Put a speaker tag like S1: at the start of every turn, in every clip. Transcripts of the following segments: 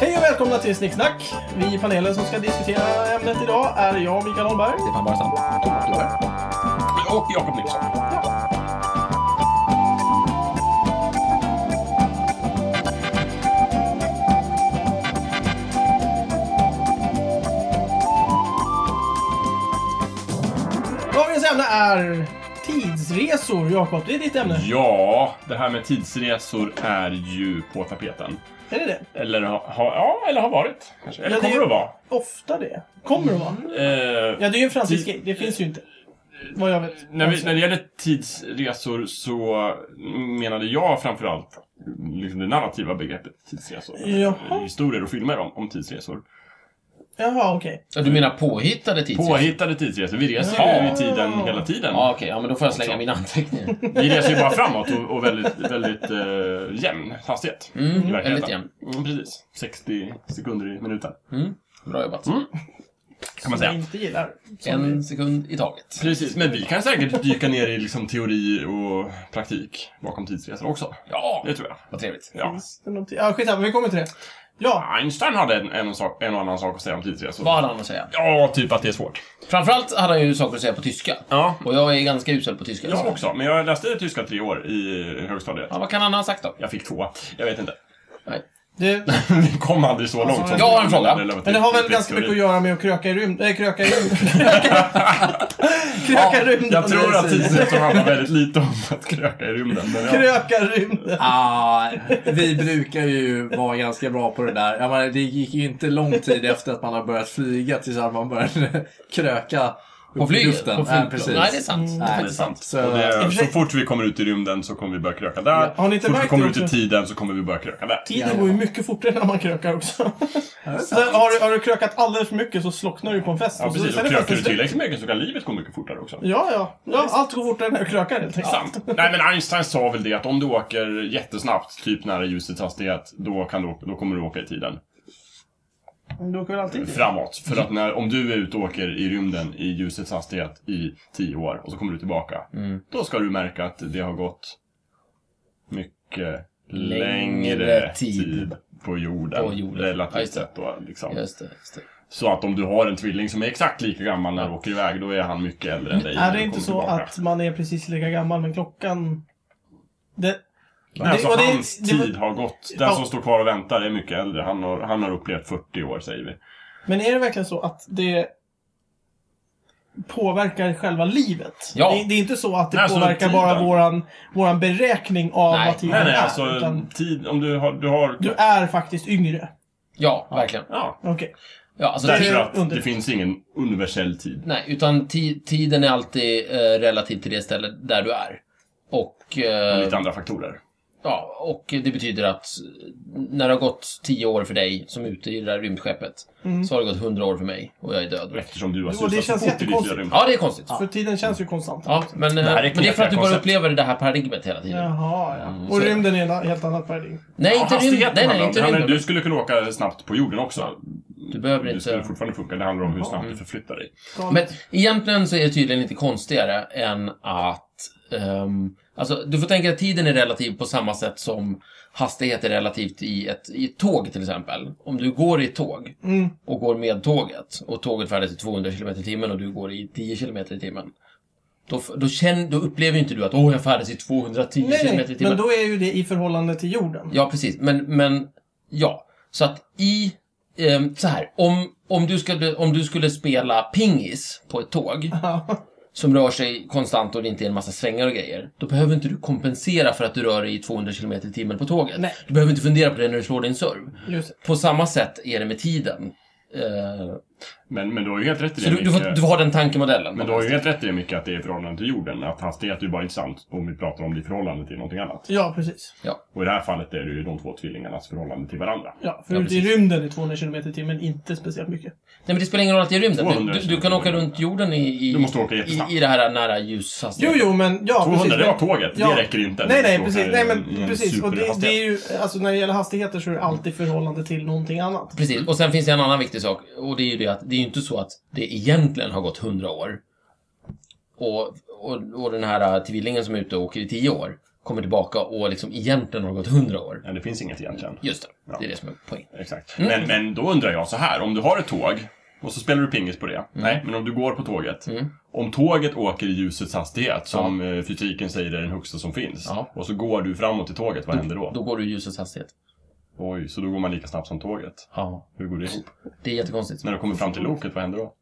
S1: Hej och välkomna till Snicksnack! Vi i panelen som ska diskutera ämnet idag är jag, Mikael Holmberg.
S2: Stefan Barstam.
S3: Och Jakob Nilsson.
S1: Dagens ämne är tidsresor. Jakob, det är ditt ämne.
S3: Ja, det här med tidsresor är ju på tapeten.
S1: Är det det?
S3: Eller har, ha, ja, eller har varit. kanske. Eller
S1: Ja, det
S3: kommer
S1: är-
S3: det att vara.
S1: Ofta det. Kommer det vara?
S3: Eh,
S1: Ja, det är ju en fransisk grej. Det finns ju inte. Vad jag vet.
S3: när, vi, när det gäller tidsresor så menade jag framförallt liksom det narrativa begreppet tidsresor.
S1: Jaha.
S3: Historier och filmer om, om tidsresor.
S1: Jaha, okej.
S2: Ja, du menar påhittade tidsresor?
S3: Påhittade tidsresor. Vi reser ju
S1: Ja.
S3: i tiden hela tiden.
S2: Ja, okej. Ja, men då får jag slänga mina anteckningar.
S3: Vi reser ju bara framåt och, och väldigt, väldigt eh, jämn hastighet. i
S2: Mm,
S3: verkligheten.
S2: väldigt jämn.
S3: Mm, precis. 60 sekunder i minuten.
S2: Bra jobbat.
S3: Mm. Kan
S1: Som
S3: man säga.
S1: jag inte gillar. Som
S2: En sekund i taget.
S3: Precis, men vi kan säkert dyka ner i liksom teori och praktik bakom tidsresor också.
S2: Ja,
S3: Det tror jag.
S2: vad trevligt.
S3: Ja.
S1: Finns det någonting? Ja, skitsamma. Vi kommer till det. Ja,
S3: Einstein hade en, en, sak, en och annan sak att säga om tidsresor.
S2: Vad hade han att säga?
S3: Ja, typ att det är svårt.
S2: Framförallt hade han ju saker att säga på tyska.
S3: Ja,
S2: Och jag är ganska usel på tyska.
S3: jag också. Men jag läste tyska tre år i högstadiet.
S2: Ja, vad kan han ha sagt då?
S3: Jag fick två. Jag vet inte.
S1: det,
S3: Vi kom aldrig så långt. som-
S2: Jag har en fråga.
S3: Eller-
S1: men det har väl
S3: typ-
S1: ganska mycket att göra med att kröka i rymden. Äh, kröka i rymden. kröka i rymden.
S3: Jag tror att
S1: precis.
S3: tidsresor handlar väldigt lite om att kröka i rymden. Men ja.
S1: Kröka i rymden.
S4: Ah, vi brukar ju vara ganska bra på det där. Jag menar, det gick ju inte lång tid efter att man har börjat flyga tills att man började kröka
S2: På
S4: upp i
S2: flyget?
S4: luften.
S2: På flyg...
S4: Nej, precis.
S2: Nej, det är sant. Det är
S3: Mm. Det är
S4: Nej.
S2: faktiskt sant.
S3: sant.
S4: Så-
S3: Så, och det,
S1: för sig-
S3: så fort vi kommer ut i rymden så kommer vi börja kröka där.
S1: Har ni inte
S3: så fort vi
S1: märkt
S3: kommer
S1: det
S3: ut i
S1: också?
S3: tiden så kommer vi börja kröka där.
S1: Tiden
S4: Ja, ja.
S1: går ju mycket fortare när man krökar också. Så
S4: sant.
S1: har, du, har du krökat alldeles för mycket så slocknar du på en fest.
S3: Ja,
S1: så-
S3: precis.
S1: sen
S3: Och
S1: är
S3: krökar
S1: festen
S3: du
S1: slut.
S3: tillräckligt mycket så kan livet gå mycket fortare också.
S1: Ja, ja. ja allt går fortare när du krökar helt enkelt.
S3: Sant. Nej, men Einstein sa väl det att om du åker jättesnabbt, typ nära ljusets hastighet, då, kan du, då kommer du åka i tiden.
S1: Men Du åker väl alltid dit?
S3: Framåt. För att när, om du är ute och åker i rymden i ljusets hastighet i tio år och så kommer du tillbaka,
S2: Mm,
S3: då ska du märka att det har gått mycket
S2: Längre
S3: längre,
S2: tid.
S3: tid. på jorden,
S2: På jorden. Ja,
S3: relativt
S2: just det.
S3: sett. Då, liksom.
S2: Just det, just det.
S3: Så att om du har en tvilling som är exakt lika gammal när du åker iväg, då är han mycket äldre än dig. när
S1: Är
S3: du
S1: det
S3: kommer
S1: inte så
S3: tillbaka.
S1: att man är precis lika gammal men klockan... Det...
S3: Nej, alltså,
S1: och det-
S3: hans
S1: det-
S3: tid har gått. Den
S1: Ja.
S3: som står kvar och väntar är mycket äldre. Han har, han har upplevt 40 år, säger
S1: Mm.
S3: vi.
S1: Men är det verkligen så att det påverkar själva livet?
S2: Ja.
S1: Det, det är inte så att det
S3: Nej, alltså
S1: påverkar
S3: tiden.
S1: bara våran, våran beräkning av
S2: Nej.
S1: vad tiden
S3: Nej, nej,
S1: är.
S3: alltså
S1: Utan
S3: tid, om du har... Du har
S1: du är faktiskt yngre.
S2: Ja, verkligen.
S3: ja,
S1: Okej.
S2: Ja, alltså,
S1: Där-
S2: tid-
S3: därför att
S1: under-
S3: det finns ingen universell tid.
S2: Nej, utan ti- tiden är alltid eh, relativ till det ställe där du är. Och,
S3: Och
S2: eh,
S3: lite andra faktorer.
S2: ja, och det betyder att när det har gått tio år för dig som är ute i det där rymdskeppet så har det gått hundra år för mig och jag är död.
S3: Eftersom du har
S1: Jo, det
S3: susat så
S1: känns
S3: fort i ditt
S1: jättekonstigt.
S3: rymd.
S2: Ja, det är konstigt. Ja,
S1: För tiden känns ju konstant.
S2: men, eh,
S3: här är
S2: men det är för att du
S3: knepiga
S2: bara
S3: koncept.
S2: upplever det här paradigmet hela tiden.
S1: Jaha, ja.
S2: Mm. så
S1: Och
S2: är det.
S1: rymden är en helt annat paradigm.
S2: Nej, inte
S3: Ja,
S2: rymden.
S3: hastigheten
S2: Nej,
S3: handlar
S2: nej,
S3: om.
S2: inte
S3: Det handlar-
S2: rymden.
S3: Du skulle kunna åka snabbt på jorden också.
S2: Du behöver
S3: Det
S2: inte...
S3: skulle fortfarande funka. Det handlar om hur snabbt du förflyttar dig.
S2: Men egentligen så är det tydligen inte konstigare än att... ehm, alltså, du får tänka att tiden är relativ på samma sätt som hastighet är relativt i ett, i ett tåg till exempel. Om du går i ett tåg
S1: Mm.
S2: och går med tåget och tåget färdas i 200 km i timmen och du går i 10 km i timmen. Då, f- då, känner, då upplever ju inte du att åh, jag färdas i 210
S1: Nej,
S2: km i
S1: nej,
S2: timmen.
S1: men då är ju det i förhållande till jorden.
S2: Ja, precis. Men, men ja. Så att i... ehm, så här, om, om, du skulle, om du skulle spela pingis på ett tåg som rör sig konstant och det inte är en massa svängar och grejer, då behöver inte du kompensera för att du rör dig i 200 km i timmen på tåget.
S1: Nej.
S2: Du behöver inte fundera på det när du slår din serve.
S1: Just det.
S2: På samma sätt är det med tiden. Eh,
S3: Men, men du har ju helt rätt i
S2: så
S3: det,
S2: du, du, får,
S3: Micke.
S2: du får ha den tankemodellen.
S3: Men du har ju helt rätt i det mycket att det är i förhållande till jorden. Att hastighet är ju bara intressant om vi pratar om det i förhållande till någonting annat.
S1: Ja, precis.
S3: Och i det här fallet är det ju de två tvillingarnas förhållande till varandra.
S1: Ja, för
S2: Ja,
S1: ute i rymden är 200 km i timmen inte speciellt mycket.
S2: Nej, men det spelar ingen roll att det är rymden. Du,
S3: 200
S2: du, du kan åka runt jorden i, i,
S3: Du måste åka
S2: i,
S3: jättesnabbt.
S2: i det här nära
S1: Jo,
S2: ljushastigheten.
S1: jo, men... Ja,
S3: 200,
S1: precis,
S3: det var
S1: men-
S3: tåget.
S1: Ja.
S3: Det räcker inte.
S1: Nej, nej,
S3: Du
S1: precis.
S3: åker
S1: Nej,
S3: i
S1: men
S3: en
S1: precis. Och det, det
S3: superhastighet.
S1: är ju, alltså när det gäller hastigheter så är det alltid förhållande till någonting annat.
S2: Precis, och sen finns det en annan viktig sak och det är ju det att det är ju inte så att det egentligen har gått 100 år och, och, och den här äh, tvillingen som är ute och åker i 10 år kommer tillbaka och liksom egentligen har det gått hundra år.
S3: Ja, det finns inget egentligen.
S2: Just det,
S3: Ja.
S2: det är det som är poängen.
S3: Exakt. Men, men då undrar jag så här, om du har ett tåg och så spelar du pingis på det. Nej, men om du går på tåget.
S2: Mm.
S3: Om tåget åker i ljusets hastighet, som eh, fysiken säger är den högsta som finns.
S2: Ja.
S3: Och så går du framåt i tåget, vad händer då?
S2: Då går du i ljusets hastighet.
S3: Oj, så då går man lika snabbt som tåget.
S2: Ja.
S3: Hur går det ihop?
S2: Det är jättekonstigt.
S3: När du kommer fram till loket, vad händer då?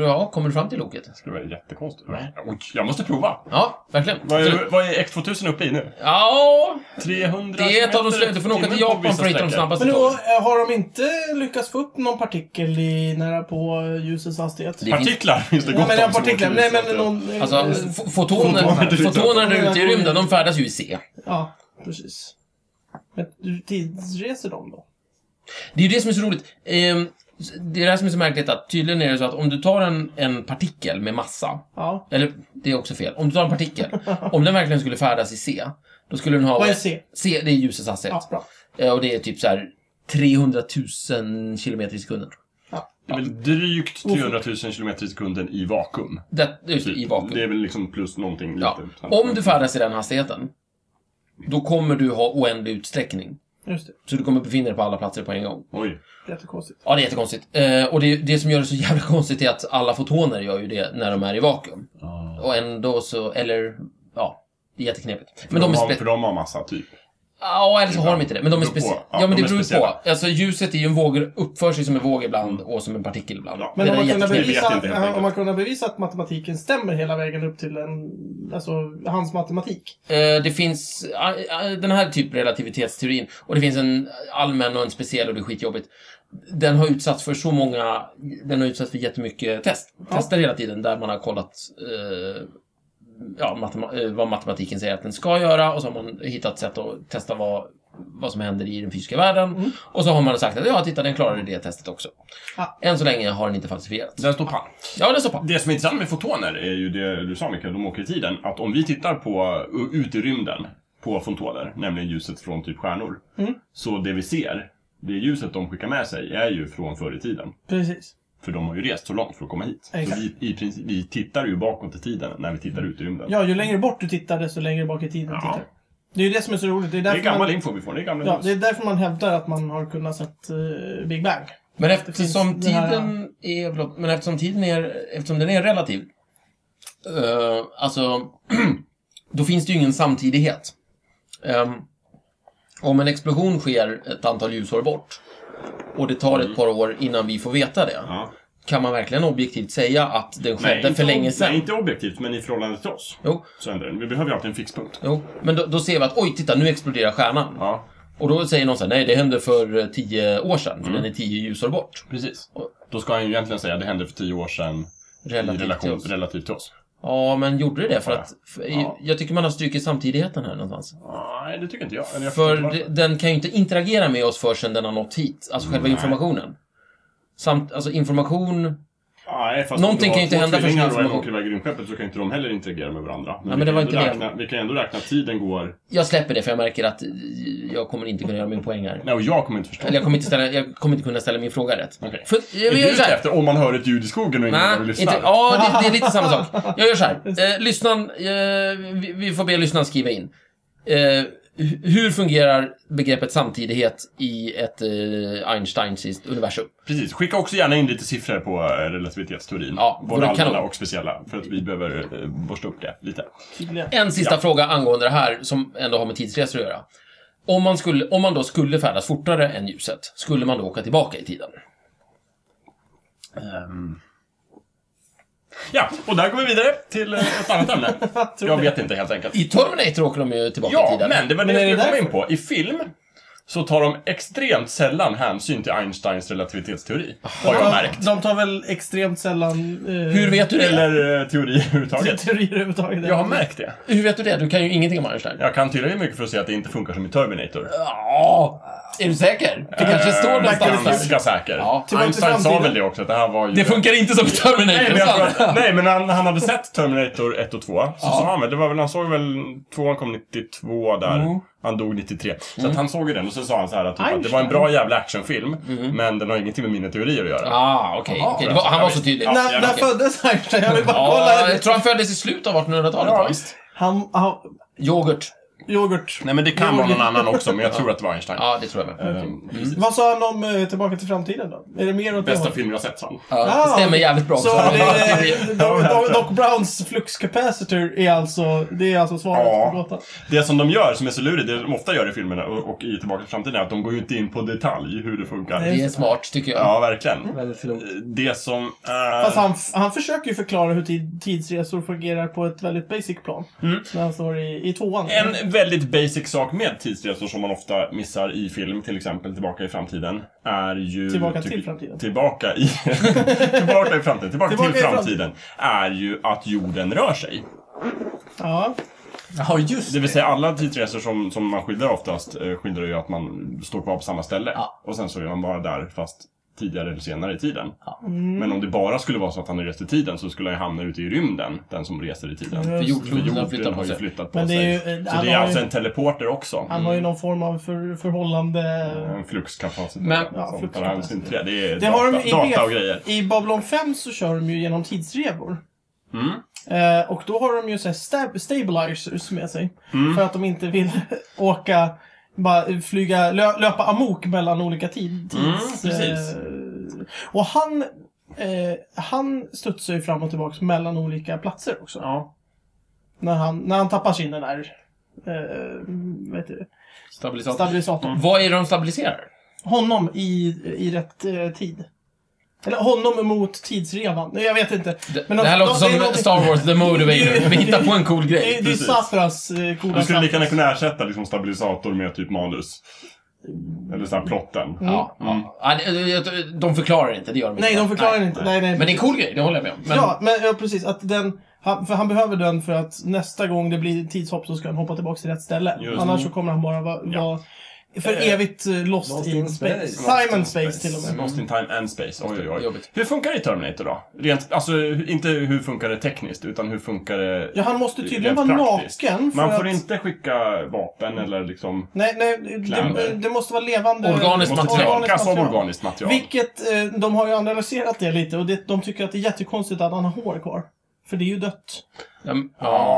S2: Ja, kommer du fram till loket?
S3: Det var jättekonstigt. Oj, jag måste prova!
S2: Ja, verkligen.
S3: Vad är, vad är X2000 uppe i nu?
S2: Ja,
S3: 300
S2: det är ett av de
S3: kilometer
S2: slut. Du får åka
S3: timmen
S2: till
S3: på
S2: Japan
S3: vissa
S2: för att hitta de
S3: sträckor.
S2: snabbaste
S1: Men nu,
S2: tågen.
S1: eh, har de inte lyckats få upp någon partikel i, nära på ljusets hastighet?
S2: Det-
S3: Partiklar finns det
S1: Nej
S3: gott
S1: men
S3: om
S1: en
S3: som åker i
S1: partikel, nej
S3: ljusets
S1: men
S3: hastighet.
S1: någon...
S2: Alltså,
S1: eh,
S2: fo- fotoner,
S3: Fotoner.
S2: fotoner där ute i rymden, de färdas ju i C.
S1: Ja, precis. Men du tidsreser de då?
S2: Det är ju det som är så roligt. Ehm, Det är det här som är så märkligt att tydligen är det så att om du tar en, en partikel med massa,
S1: Ja.
S2: eller det är också fel, om du tar en partikel, om den verkligen skulle färdas i C, då skulle den ha...
S1: Vad är C?
S2: C, det är ljusets hastighet.
S1: Ja, bra.
S2: Eh, Och det är typ så här 300 000 kilometer i sekunden.
S3: Det är väl drygt 300 000 kilometer i sekunden i vakuum.
S2: Det, just det, i vakuum.
S3: Det är väl liksom plus någonting lite.
S2: Ja. Om du färdas i den hastigheten, då kommer du ha oändlig utsträckning.
S1: Just det.
S2: Så du kommer befinna dig på alla platser på en gång.
S3: Oj.
S1: Jättekonstigt.
S2: Ja, det är jättekonstigt. Eh, och det, det som gör det så jävla konstigt är att alla fotoner gör ju det när de är i vakuum.
S3: Ah.
S2: Och ändå så, eller, ja. Det är jätteknepigt. Men de är
S3: har, För
S2: spe-
S3: de har massa, typ.
S2: Ja, eller så har de inte det. Men de är
S3: Beror på.
S2: speciella.
S3: Ja,
S2: Ja, men
S3: de
S2: det
S3: är
S2: beror
S3: speciella. Mm.
S2: på. Alltså ljuset är ju en våg, uppför sig som en våg ibland och som en partikel ibland.
S3: Ja.
S2: Det
S1: Men
S2: där
S1: om
S2: är
S1: man, kunde
S2: jätteknepigt.
S3: jätteknepigt. Jag vet
S1: bevisa,
S3: inte helt
S1: ja, om
S3: enkelt.
S1: man kunde bevisa att matematiken stämmer hela vägen upp till en, alltså, hans matematik.
S2: Eh, Det finns ah, ah, den här typ relativitetsteorin och det finns en allmän och en speciell och det är skitjobbigt. Den har utsatts för så många, den har utsatts för jättemycket test, tester hela tiden där man har kollat eh, ja, matema- eh, vad matematiken säger att den ska göra och så har man hittat sätt att testa vad, vad som händer i den fysiska världen. Och så har man sagt att ja, titta den klarade det testet också.
S1: Ja.
S2: Än så länge har den inte falsifierats.
S3: Den står pall.
S2: Ja, det står på.
S3: Det som är intressant med fotoner är ju det du sa Mikael, de åker i tiden. Att om vi tittar på, ut i rymden, på fotoner, nämligen ljuset från typ stjärnor. Så det vi ser, det ljuset de skickar med sig, är ju från förr i tiden.
S1: Precis.
S3: För de har ju rest så långt för att komma hit. Så
S1: Exakt.
S3: vi, i princip, vi tittar ju bakåt i tiden när vi tittar ut i rymden.
S1: Ja, ju längre bort du tittar, desto längre bak i tiden
S3: Ja.
S1: tittar du. Det är ju det som är så roligt. Det är
S3: det är
S1: därför,
S3: gammal
S1: man,
S3: info vi får, det är gamla
S1: ja,
S3: ljus.
S1: det är därför man hävdar att man har kunnat sett eh, Big Bang.
S2: Men
S1: Det finns
S2: eftersom
S1: den här-
S2: tiden är, förlåt, men eftersom tiden är, eftersom den är relativ, eh, alltså, då finns det ju ingen samtidighet. Ehm, om en explosion sker ett antal ljusår bort och det tar ett par år innan vi får veta det,
S3: Ja.
S2: kan man verkligen objektivt säga att den skedde
S3: inte
S2: för länge
S3: ob-
S2: sedan?
S3: Nej, inte objektivt, men i förhållande till oss.
S2: Jo,
S3: Så ändrar den. Vi behöver ju alltid en fixpunkt.
S2: jo, men då, då ser vi att oj, titta nu exploderar stjärnan.
S3: Ja,
S2: Och då säger någon så här, nej det hände för eh, tio år sedan, för
S3: Mm.
S2: den är tio ljusår bort.
S3: precis. Då ska han ju egentligen säga att det hände för tio år sedan
S2: Relativt
S3: i
S2: till
S3: relation,
S2: oss.
S3: relativt till oss.
S2: Ja, men gjorde det det? För
S3: Ja.
S2: att, för,
S3: Ja.
S2: Jag tycker man har strukit samtidigheten här någonstans.
S3: Nej, det tycker inte jag. Eller jag
S2: För
S3: förstår inte
S2: det, den kan ju inte interagera med oss förrän den har nått hit. Alltså själva
S3: Nej.
S2: informationen. Samt, alltså information...
S3: varför. Nej, fast
S2: Någonting
S3: om
S2: kan
S3: du har
S2: ju inte
S3: två
S2: hända förrän
S3: tvillingar och en
S2: information-
S3: åker iväg i rymdskeppet så kan ju inte de heller interagera med varandra.
S2: men
S3: vi
S2: det
S3: kan
S2: var
S3: ändå
S2: inte det.
S3: räkna, Vi kan ju ändå räkna att tiden går...
S2: Jag släpper det för jag märker att eh, jag kommer inte kunna göra min poäng här.
S3: Nej, och jag kommer inte förstå.
S2: Eller jag kommer inte, ställa, jag kommer inte kunna ställa min fråga rätt.
S3: Okej.
S2: För, jag,
S3: Är
S2: jag
S3: du
S2: gör så
S3: ute
S2: här.
S3: efter om man hör ett ljud i skogen och ingen av er
S2: Nej,
S3: lyssnar?
S2: inte, ja, det, det är lite samma sak. Jag gör så här. Eh, lyssnaren, eh, vi, vi får be lyssnaren skriva in. Eh, hu- hur fungerar begreppet samtidighet i ett eh, Einsteins universum?
S3: Precis. Skicka också gärna in lite siffror på eh, relativitetsteorin.
S2: Ja,
S3: Både
S2: vore
S3: allmänna
S2: kanon.
S3: och speciella. För att vi behöver eh, borsta upp det lite.
S1: Tydligen.
S2: En sista fråga angående det här som ändå har med tidsresor att göra. Om man, skulle, om man då skulle färdas fortare än ljuset, skulle man då åka tillbaka i tiden?
S3: Ja, och där går vi vidare till eh, ett annat ämne.
S1: tror
S3: jag
S1: det.
S3: vet inte helt enkelt.
S2: I Terminator åker de ju tillbaka i
S3: Ja,
S2: tiden.
S3: men det var det
S1: Men är
S3: jag
S1: det
S3: skulle komma
S1: därför?
S3: in på. I film så tar de extremt sällan hänsyn till Einsteins relativitetsteori. Har jag märkt.
S1: De tar väl extremt sällan... eh,
S2: Hur vet du det?
S3: Eller eh, teorier överhuvudtaget.
S1: Teorier överhuvudtaget.
S3: Jag har märkt det.
S2: Hur vet du det? Du kan ju ingenting om Einstein.
S3: Jag kan tillräckligt mycket för att säga att det inte funkar som i Terminator.
S2: Ja, är du säker? Det
S3: Eh,
S2: kanske står någonstans där.
S3: Ganska säker.
S2: Ja.
S1: Tillbaka till
S3: Einstein sa
S1: framtiden.
S3: väl det också, att det här var ju...
S2: Det funkar inte som
S3: Nej,
S2: Terminator.
S3: men, jag
S2: sant?
S3: tror att, nej, men han, han hade sett Terminator 1 och 2. Så sa han väl, det var väl, han såg väl, tvåan kom 92 där. Han dog 93. Så att han såg ju den och så sa han Mm. så Mm. här att, typ, att det var en bra jävla actionfilm, men den har ingenting med mina teorier att göra.
S2: Ah, okej. okej. Det var- Han var så tydlig.
S3: Ja.
S1: När, när föddes Einstein? Jag vill bara kolla.
S2: Ja,
S1: här.
S2: jag tror han föddes i slutet av 1800-talet,
S3: Ja,
S2: va?
S3: visst.
S1: Han, han,
S2: Yoghurt.
S1: yoghurt.
S3: Nej men det kan
S1: Jo,
S3: vara någon
S1: det-
S3: annan också, men jag tror att det var Einstein.
S2: Ja, det tror jag väl.
S3: Ehm,
S1: Vad sa han om eh, Tillbaka till framtiden då? Är det mer åt det
S3: Bästa
S1: hållet?
S3: film jag sett, sa han.
S2: Ja, det stämmer jävligt bra.
S1: Så
S2: också.
S1: det är, Doc, Doc, Doc Browns flux capacitor är alltså, det är alltså svaret
S3: Ja.
S1: på gåtan?
S3: Det som de gör, som är så lurigt, det de ofta gör i filmerna och, och i Tillbaka till framtiden, är att de går ju inte in på detalj hur det funkar.
S1: Nej.
S2: Det är smart, tycker jag.
S3: Ja, verkligen.
S4: Väldigt klokt.
S3: Det som är...
S1: Fast han, han försöker ju förklara hur tid, tidsresor fungerar på ett väldigt basic plan. När han står i, i tvåan.
S3: Mm. En väldigt basic sak med tidsresor som man ofta missar i film, till exempel Tillbaka i framtiden, är ju...
S1: Tillbaka
S3: tyck-
S1: till framtiden.
S3: Tillbaka i... tillbaka i framtiden. Tillbaka,
S1: Tillbaka i
S3: till framtiden. Är ju att jorden rör sig.
S1: Ja.
S4: Ja, just
S3: Det
S4: det.
S3: vill säga alla tidsresor som, som man skildrar oftast eh, skildrar ju att man står kvar på samma ställe.
S4: Ja.
S3: Och sen så är man bara där fast tidigare eller senare i tiden.
S1: Mm.
S3: Men om det bara skulle vara så att han har rest i tiden så skulle han ju hamna ute i rymden, den som reser i tiden.
S1: För
S3: För
S2: jordklotet Mm. har flyttat
S3: jorden
S2: på
S3: har ju
S2: sig.
S3: flyttat på
S1: Mm. Men det är ju-
S3: sig.
S1: eh,
S3: så
S1: han
S3: det är
S1: har
S3: alltså
S1: ju-
S3: en teleporter också.
S1: Han har ju någon form av för, förhållande...
S3: En fluxkapacitet.
S2: Men-
S3: som
S1: Ja,
S3: tar
S1: fluxkapacitet.
S3: hänsyn till det. Det är
S1: Det
S3: data,
S1: har de i
S3: data
S1: B-
S3: och grejer.
S1: I Babylon 5 så kör de ju genom tidsrevor.
S3: Mm.
S1: Eh, och då har de ju så här stab- stabilizers med sig.
S3: Mm.
S1: För att de inte vill åka, bara flyga, lö- löpa amok mellan olika tid, tids...
S3: Mm, precis.
S1: eh, och han, eh, han studsar ju fram och tillbaka mellan olika platser också.
S3: Ja.
S1: När, han, när han tappar sin den där, eh, vad heter det,
S2: Stabilisator.
S1: stabilisatorn.
S3: Mm.
S2: Vad är det de stabiliserar?
S1: Honom i, i rätt eh, tid. Eller honom mot tidsrevan. Nej, Jag vet inte.
S2: Det,
S1: Men
S2: det här
S1: de-
S2: låter
S1: de- det är
S2: som
S1: någonting-
S2: Star Wars The Motivator. Vi hittar på en cool
S1: Det är,
S2: grej.
S1: det är
S3: precis.
S1: Safras eh, coola
S3: Du skulle
S1: Safras.
S3: lika gärna kunna ersätta liksom stabilisator med typ manus. Eller så här plotten.
S2: Ja, ja. Ja, det- De förklarar inte, det gör de inte.
S1: Mm. Nej, de förklarar inte. Nej, nej.
S2: Men det är en cool grej, det håller jag med om. Men,
S1: Ja, men ja, precis. Att den, han, för han behöver den för att nästa gång det blir tidshopp så ska han hoppa tillbaka till rätt ställe.
S3: Just.
S1: Annars så kommer han bara vara
S3: Ja.
S1: vara för evigt eh, lost,
S4: Lost
S1: in
S4: in
S1: space.
S4: space.
S1: Time and space till och med.
S3: Lost in time and space. Oj, oj, oj.
S2: Jobbigt.
S3: Hur funkar det i Terminator då? Rent, alltså, hu- inte hur funkar det tekniskt, utan hur funkar det...
S1: Ja, han måste tydligen
S3: rent
S1: vara
S3: praktiskt?
S1: naken för
S3: Man får
S1: att-
S3: inte skicka vapen eller liksom...
S1: Nej, nej. Det,
S3: Kläder.
S1: det måste vara levande...
S2: Organiskt
S3: Det måste
S2: material.
S3: tolkas som organiskt material.
S1: Vilket, eh, de har ju analyserat det lite och det, de tycker att det är jättekonstigt att han har hår kvar. För det är ju dött.
S2: Ja, men- ja.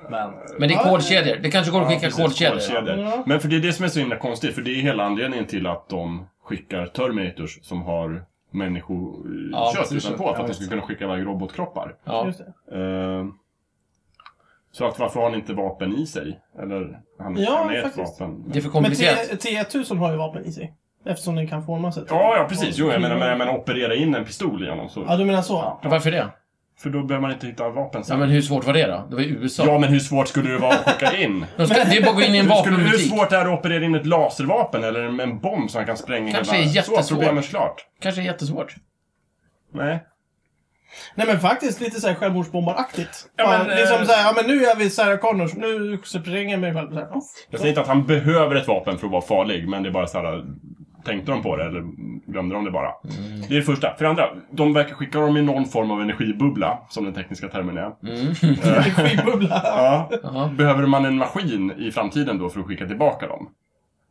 S4: Ja, men...
S2: Men det är kolkedjor. Det kanske går att skicka
S3: precis,
S2: kolkedjor.
S1: Ja.
S3: Men för det är det som är så himla konstigt, för det är hela anledningen till att de skickar Terminators som har
S2: Ja,
S3: människokött
S2: precis.
S3: utanpå, för
S4: Ja,
S3: att de
S4: just
S3: ska kunna skicka iväg robotkroppar.
S2: Ja.
S1: Just det.
S3: Eh, så att varför har han inte vapen i sig? Eller, han,
S1: Ja,
S3: han är
S1: faktiskt.
S3: ett vapen.
S2: Det är för
S1: Men
S2: komplicerat.
S1: T- T1000 har ju vapen i sig. Eftersom den kan forma sig.
S3: Ja, ja precis. Jo, jag menar, men, men operera in en pistol i honom så...
S2: Alltså-
S1: Ja, du menar så?
S2: Ja, Varför det?
S3: För då behöver man inte hitta vapen
S2: Ja,
S3: sen.
S2: men hur svårt var det då? Det var ju USA.
S3: Ja, men hur svårt skulle det vara att skicka in?
S2: De ska, det är bara att gå in i Alltså- en
S3: Hur, skulle, hur
S2: vapenbutik.
S3: svårt är det att operera in ett laservapen eller en, en bomb som man kan spränga
S2: Kanske
S3: hela...
S2: är jättesvårt.
S3: Så, problemet är klart.
S2: Kanske är jättesvårt.
S3: Nej.
S1: Nej men faktiskt lite såhär självmordsbombaraktigt.
S3: Ja,
S1: Ja,
S3: men, eh,
S1: liksom såhär, ja men nu är vi Sarah Connors, nu spränger jag mig själv. Så här, "Åh."
S3: Jag säger inte att han behöver ett vapen för att vara farlig, men det är bara så här... Tänkte de på det eller glömde de det bara?
S1: Mm.
S3: Det är det första. För det andra, de verkar skicka dem i någon form av energibubbla, som den tekniska termen är.
S1: Energibubbla.
S3: eh, Ja.
S2: Mm. Jaha.
S3: Behöver man en maskin i framtiden då för att skicka tillbaka dem?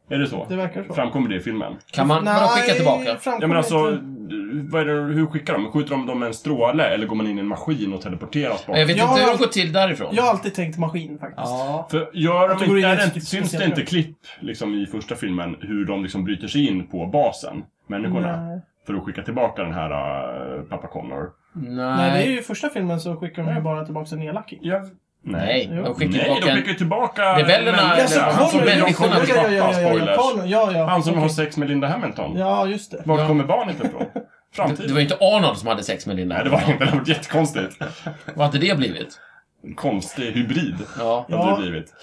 S3: Är det så?
S1: Det verkar så.
S3: Framkommer det i filmen?
S2: Kan man vadå, skicka tillbaka?
S1: framkommer
S3: Ja men alltså,
S1: inte.
S3: vad är det, hur skickar de? Skjuter de dem med en stråle eller går man in i en maskin och teleporteras bort?
S2: Jag vet
S1: Jag
S2: inte hur
S1: har-
S2: det går till därifrån.
S1: Jag har alltid tänkt maskin faktiskt.
S4: Ja.
S3: För gör
S1: Att du
S3: de
S1: går
S3: inte,
S1: in i
S3: är
S1: ett
S3: det, inte-
S1: speciellt
S3: syns det
S1: rum.
S3: inte klipp liksom, i första filmen hur de liksom bryter sig in på basen, människorna,
S1: Nej.
S3: för att skicka tillbaka den här äh, pappa Connor?
S2: Nej.
S1: Nej, det är ju i första filmen så skickar
S3: Mm.
S1: de ju bara tillbaka en elacking.
S3: Ja.
S2: Nej,
S3: Nej.
S2: de
S3: Nej,
S2: skickar tillbaka
S3: de
S2: en...
S3: skickar ju tillbaka
S2: Rebellerna
S3: människorna.
S2: eller-
S1: Jaså,
S3: han som,
S1: Connor?
S2: men-
S1: Ja,
S3: människorna
S1: ja, ja, ja, ja, ja,
S3: spoilers.
S1: Connor, ja, ja.
S3: Han som
S1: Okej.
S3: har sex med Linda Hamilton.
S1: Ja, just det.
S3: Vart
S2: Ja.
S3: kommer barnet ifrån? Framtiden?
S2: Det var ju inte Arnold som hade sex med Linda.
S3: Nej, det var inte. Det var jättekonstigt.
S2: Vad hade det blivit?
S3: Konstig hybrid.
S2: Ja.
S3: Hade
S1: Ja.
S3: det blivit.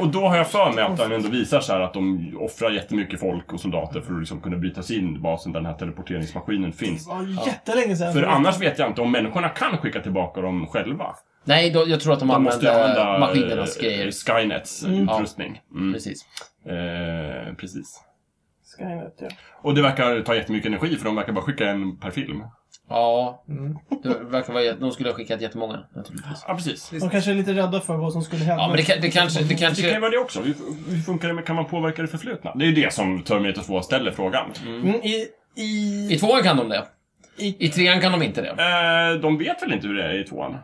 S3: Och då har jag för mig att han ändå visar så här att de offrar jättemycket folk och soldater för att liksom kunna bryta sig in i basen där den här teleporteringsmaskinen finns.
S1: Det var jättelänge sedan.
S3: För annars vet jag inte om människorna kan skicka tillbaka dem själva.
S2: Nej, då, jag tror att de,
S3: De måste ju
S2: använde
S3: använda
S2: maskinernas
S3: eh,
S2: grejer.
S3: Skynets utrustning. Mm.
S2: Precis.
S3: Eh, precis.
S1: Skynet, ja.
S3: Och det verkar ta jättemycket energi för de verkar bara skicka en per film.
S2: Ja.
S3: Mm.
S2: Det verkar vara, jätte- de skulle ha skickat jättemånga, naturligtvis.
S3: Ja, precis.
S1: De kanske är lite rädda för vad som skulle hända.
S2: Ja, men det, kan- det kanske... Det
S3: Det kan ju
S2: kanske
S3: vara det också. Hur, hur funkar det med, kan man påverka det förflutna? Det är ju det som Terminator 2 ställer frågan.
S1: Mm, i, i,
S2: I tvåan kan de det.
S1: I-
S2: I trean kan de inte det.
S3: Eh, de vet väl inte hur det är i tvåan?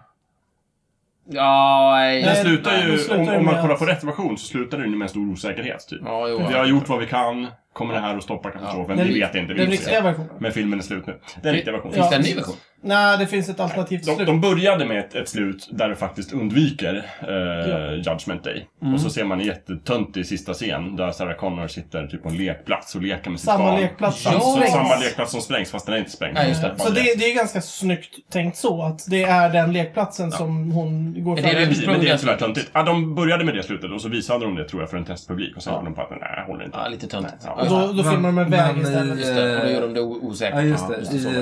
S2: Ja, nej.
S3: Den
S1: Nej,
S3: slutar
S1: nej,
S3: ju,
S1: den slutar
S3: om,
S1: ju med
S3: om man kollar
S1: att-
S3: på rätt version så slutar den ju med en stor osäkerhet. Typ.
S2: Ja, jo.
S3: Vi har gjort vad vi kan, kommer det här att stoppa katastrofen?
S1: Den-
S3: Vi vet inte, vi
S1: Den
S3: får
S1: riktiga
S3: se.
S1: versionen.
S3: Men filmen är slut nu. Den riktiga versionen.
S2: Finns det en ny
S1: Ja.
S2: version?
S1: Nej, det finns ett alternativt
S3: De,
S1: slut.
S3: de började med ett, ett slut där du faktiskt undviker eh, Judgment Day. Och så ser man en jättetöntig sista scen där Sarah Connor sitter typ på en lekplats och leker med sitt
S1: Samma
S3: barn.
S1: lekplats
S2: som
S3: som
S2: sprängs.
S3: sprängs. Samma lekplats som sprängs fast den är inte sprängd.
S2: Nej, just det.
S3: Bara
S1: Så det,
S3: lek.
S1: det är ganska snyggt tänkt så, att det är den lekplatsen som hon går
S2: Är
S1: fram
S2: det
S1: till.
S2: det
S3: Precis, Men det är tyvärr
S2: ursprungliga
S3: töntigt. Ja, de började med det slutet och så visade de det tror jag för en testpublik och sen kom de på att nej, håller inte.
S2: Ja, lite töntigt.
S3: Ja.
S1: Och då, då
S4: Men-
S1: filmar de en väg
S4: men eh,
S1: istället.
S4: i-
S2: Just det, och då gör de det o- osäkert.
S4: Ja, just
S2: Ja,
S4: det.
S2: så var
S4: I,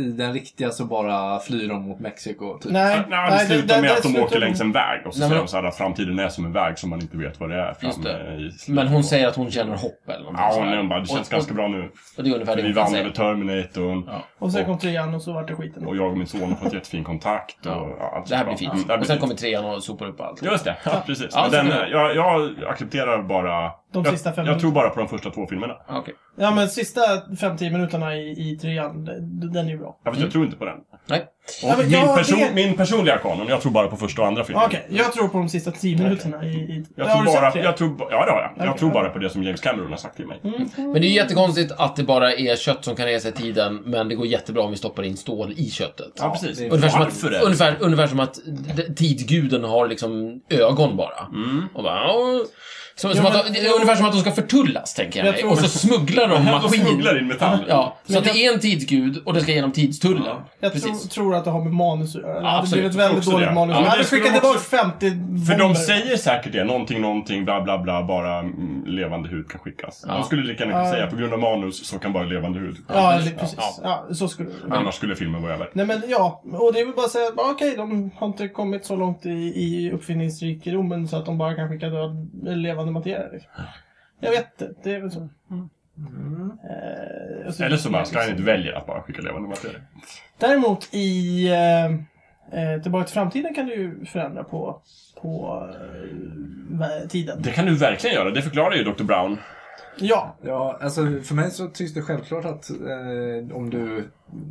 S4: I den riktiga så bara flyr de mot Mexiko. Typ.
S1: Nej,
S3: Nej, det slutar med
S1: där
S3: att de
S1: slutar
S3: åker längs en väg och så
S2: Nej,
S3: säger
S2: men-
S3: de så här att framtiden är som en väg som man inte vet vad det är fram
S2: Just det.
S3: eh, i
S2: det. Men
S3: slutet.
S2: hon säger att hon känner hopp eller någonting
S3: Ja,
S2: sånt där.
S3: nej, hon bara, det känns
S2: och,
S3: ganska
S2: och,
S3: bra nu.
S2: Och det är ungefär det
S3: Vi
S2: hon kan
S3: vann över
S2: säga.
S3: Terminatorn.
S2: Ja.
S1: Och sen kom trean och så vart det skiten.
S3: Och jag och min son har fått jättefin kontakt. Och,
S2: Ja.
S3: ja, allt
S2: Det här
S3: är
S2: blir fint.
S3: bra. Mm, det här
S2: och
S3: blir
S2: sen
S3: fint.
S2: kommer trean och sopar upp allt.
S3: Just det, ja, precis.
S2: Ja,
S3: Men
S2: så
S3: den,
S2: kan det
S3: jag, jag accepterar bara...
S1: De
S3: jag,
S1: sista fem
S3: jag tror bara på de första två filmerna.
S2: Ja, Okej.
S1: Ja, men sista fem, tio minuterna i, i trean, d- den är ju bra.
S3: Ja, fast
S2: Mm.
S3: Jag tror inte på den.
S2: Nej.
S3: Och
S1: Ja, men
S3: min,
S1: jag-
S3: person,
S1: det-
S3: min personliga kanon, jag tror bara på första och andra filmen.
S1: Okej, jag tror på de sista tio minuterna i... i
S3: Jag
S1: Har
S3: tror
S1: du sett
S3: bara,
S1: trean?
S3: jag tror, ba- ja, det har jag. Jag
S1: Okej. Mm.
S3: tror bara på det som James Cameron har sagt till mig.
S2: Men det är ju jättekonstigt att det bara är kött som kan resa i tiden, men det går jättebra om vi stoppar in stål i köttet.
S3: Ja, precis.
S4: det är-
S2: Ungefär som,
S3: Varför
S2: att,
S3: det?
S2: ungefär, ungefär som att d- tidguden har liksom ögon bara.
S3: Mm.
S2: Och bara, ja. som, som
S1: Ja,
S2: att,
S1: men-
S2: det är ungefär som att de ska förtullas, tänker jag,
S1: Jag
S2: mig.
S1: tror-
S2: Och så smugglar de
S3: De smugglar
S2: maskin.
S3: in metall.
S2: Ja, så
S1: Men
S2: att det är en tidsgud och den ska genom tidstullen.
S1: Jag tror,
S2: Precis.
S1: tror att det har med manus att göra. Det hade
S2: absolut.
S1: blivit ett väldigt
S3: Också
S1: dåligt
S3: det.
S1: manus. Ja,
S3: Ja, men
S1: hade
S3: det skulle
S1: skickat
S3: de
S1: tillbaka
S3: också-
S1: 50
S3: För
S1: bomber.
S3: de säger säkert det. Någonting, någonting, bla, bla, bla. Bara mm, levande hud kan skickas.
S2: Ja.
S3: De skulle lika gärna kunna
S1: Ja.
S3: säga på grund av manus så kan bara levande hud.
S1: Ja,
S3: skickas.
S1: eller precis.
S3: Ja.
S1: Ja. så skulle det vara.
S3: Annars skulle filmen vara över.
S1: Nej men ja, och det är väl bara att säga att bara, okej, de har inte kommit så långt i, i uppfinningsrikedomen så att de bara kan skicka död levande materia. Liksom. Jag vet det, det är väl så. Eh, och så-
S3: Mm. Eller så bara Skynet väljer att bara skicka levande materia.
S1: Däremot i eh, eh, Tillbaka till framtiden kan du ju förändra på, på eh, vä- tiden.
S3: Det kan du verkligen göra. Det förklarar ju Dr. Brown.
S1: Ja,
S4: Ja, alltså för mig så tycks det självklart att eh, om, du,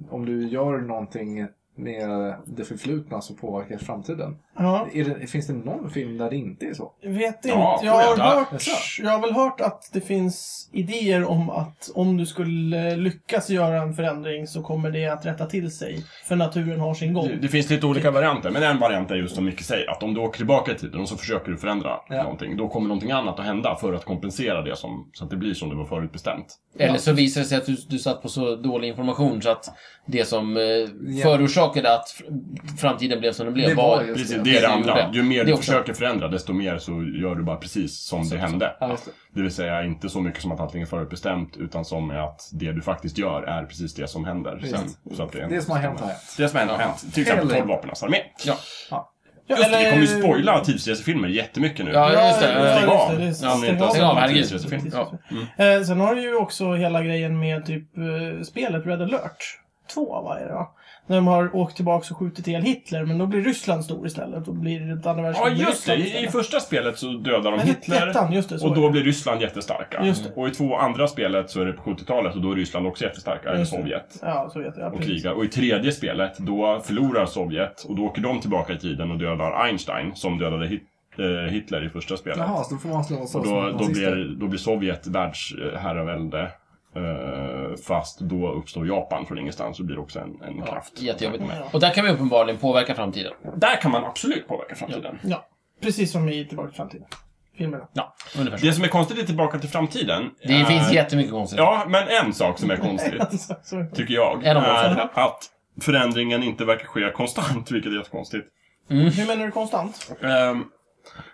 S4: om du gör någonting med det förflutna så påverkar framtiden.
S1: ja.
S4: Är det, finns det någon film där det inte är så?
S1: Vet inte.
S3: Ja,
S1: jag, har
S3: ja,
S1: hört,
S4: jaså.
S1: jag har väl hört att det finns idéer om att om du skulle lyckas göra en förändring så kommer det att rätta till sig. För naturen har sin gång.
S3: Det- Det finns lite olika varianter, men en variant är just som Micke säger, att om du åker tillbaka i tiden och så försöker du förändra
S4: Ja.
S3: någonting, då kommer någonting annat att hända för att kompensera det som, så att det blir som det var förutbestämt.
S2: Eller så visar det sig att du, du satt på så dålig information så att det som eh,
S4: Ja.
S2: förorsakade att fr- framtiden blev som den blev
S4: Det var
S2: var
S4: just
S3: Precis,
S4: det.
S3: det är
S2: Det
S3: det andra.
S2: gjorde.
S3: Ju mer
S2: Det
S3: du
S2: också.
S3: försöker förändra, desto mer så gör du bara precis som det hände.
S4: Ja, just det.
S3: Det vill säga inte så mycket som att allting är förutbestämt, utan som är att det du faktiskt gör är precis det som händer sen. Så att det,
S4: Det som har hänt har hänt.
S3: Det som har hänt har hänt. Till exempel
S4: Eller-
S3: 12 vapenas armé.
S2: Ja.
S1: Ja,
S3: Just det, vi
S1: eller-
S3: kommer ju spoila tidsresefilmer jättemycket nu.
S2: Ja, just det.
S1: Ja,
S2: Stäng
S1: just
S3: av.
S1: det, det är-
S3: Ja, men
S1: stäng
S3: inte
S1: av.
S3: så- mm.
S2: Stäng av,
S3: Precis,
S2: herregud.
S3: precis.
S2: Ja.
S1: Eh, sen har du ju också hela grejen med typ eh, spelet Red Alert 2, vad är det va? När de har åkt tillbaka och skjutit ihjäl Hitler, men då blir Ryssland stor istället. Då blir det ett andra
S3: Ja,
S1: världskriget.
S3: just det. I, I första spelet så dödar de Hitler.
S1: Ettan, just det. så
S3: Och
S1: är det.
S3: då blir Ryssland jättestarka.
S1: Just det.
S3: Och i två andra spelet så är det på 70-talet och då är Ryssland också jättestarka, eller
S1: Just det.
S3: Sovjet.
S1: Ja, så vet jag.
S3: Och
S1: precis.
S3: krigar. Och i tredje spelet, då förlorar Sovjet och då åker de tillbaka i tiden och dödar Einstein som dödade Hit- eh, Hitler i första spelet.
S4: Jaha, så då får man slå
S3: och då, då, blir, då blir Sovjet världsherravälde. Eh, fast då uppstår Japan från ingenstans och blir också en, en kraft.
S2: Jättejobbigt. Och där kan vi uppenbarligen påverka framtiden.
S3: Där kan man absolut påverka framtiden.
S1: Ja, precis som i Tillbaka till framtiden. Filmerna.
S2: Ja, ungefär så.
S3: Det som är konstigt i Tillbaka till framtiden...
S2: Det
S3: är-
S2: finns jättemycket konstigt.
S3: Ja, men en sak som är konstigt.
S1: Alltså, så-
S3: tycker jag,
S2: En av dem.
S3: är att förändringen inte verkar ske konstant, vilket är jättekonstigt.
S1: Hur menar du konstant?
S3: Ehm, jag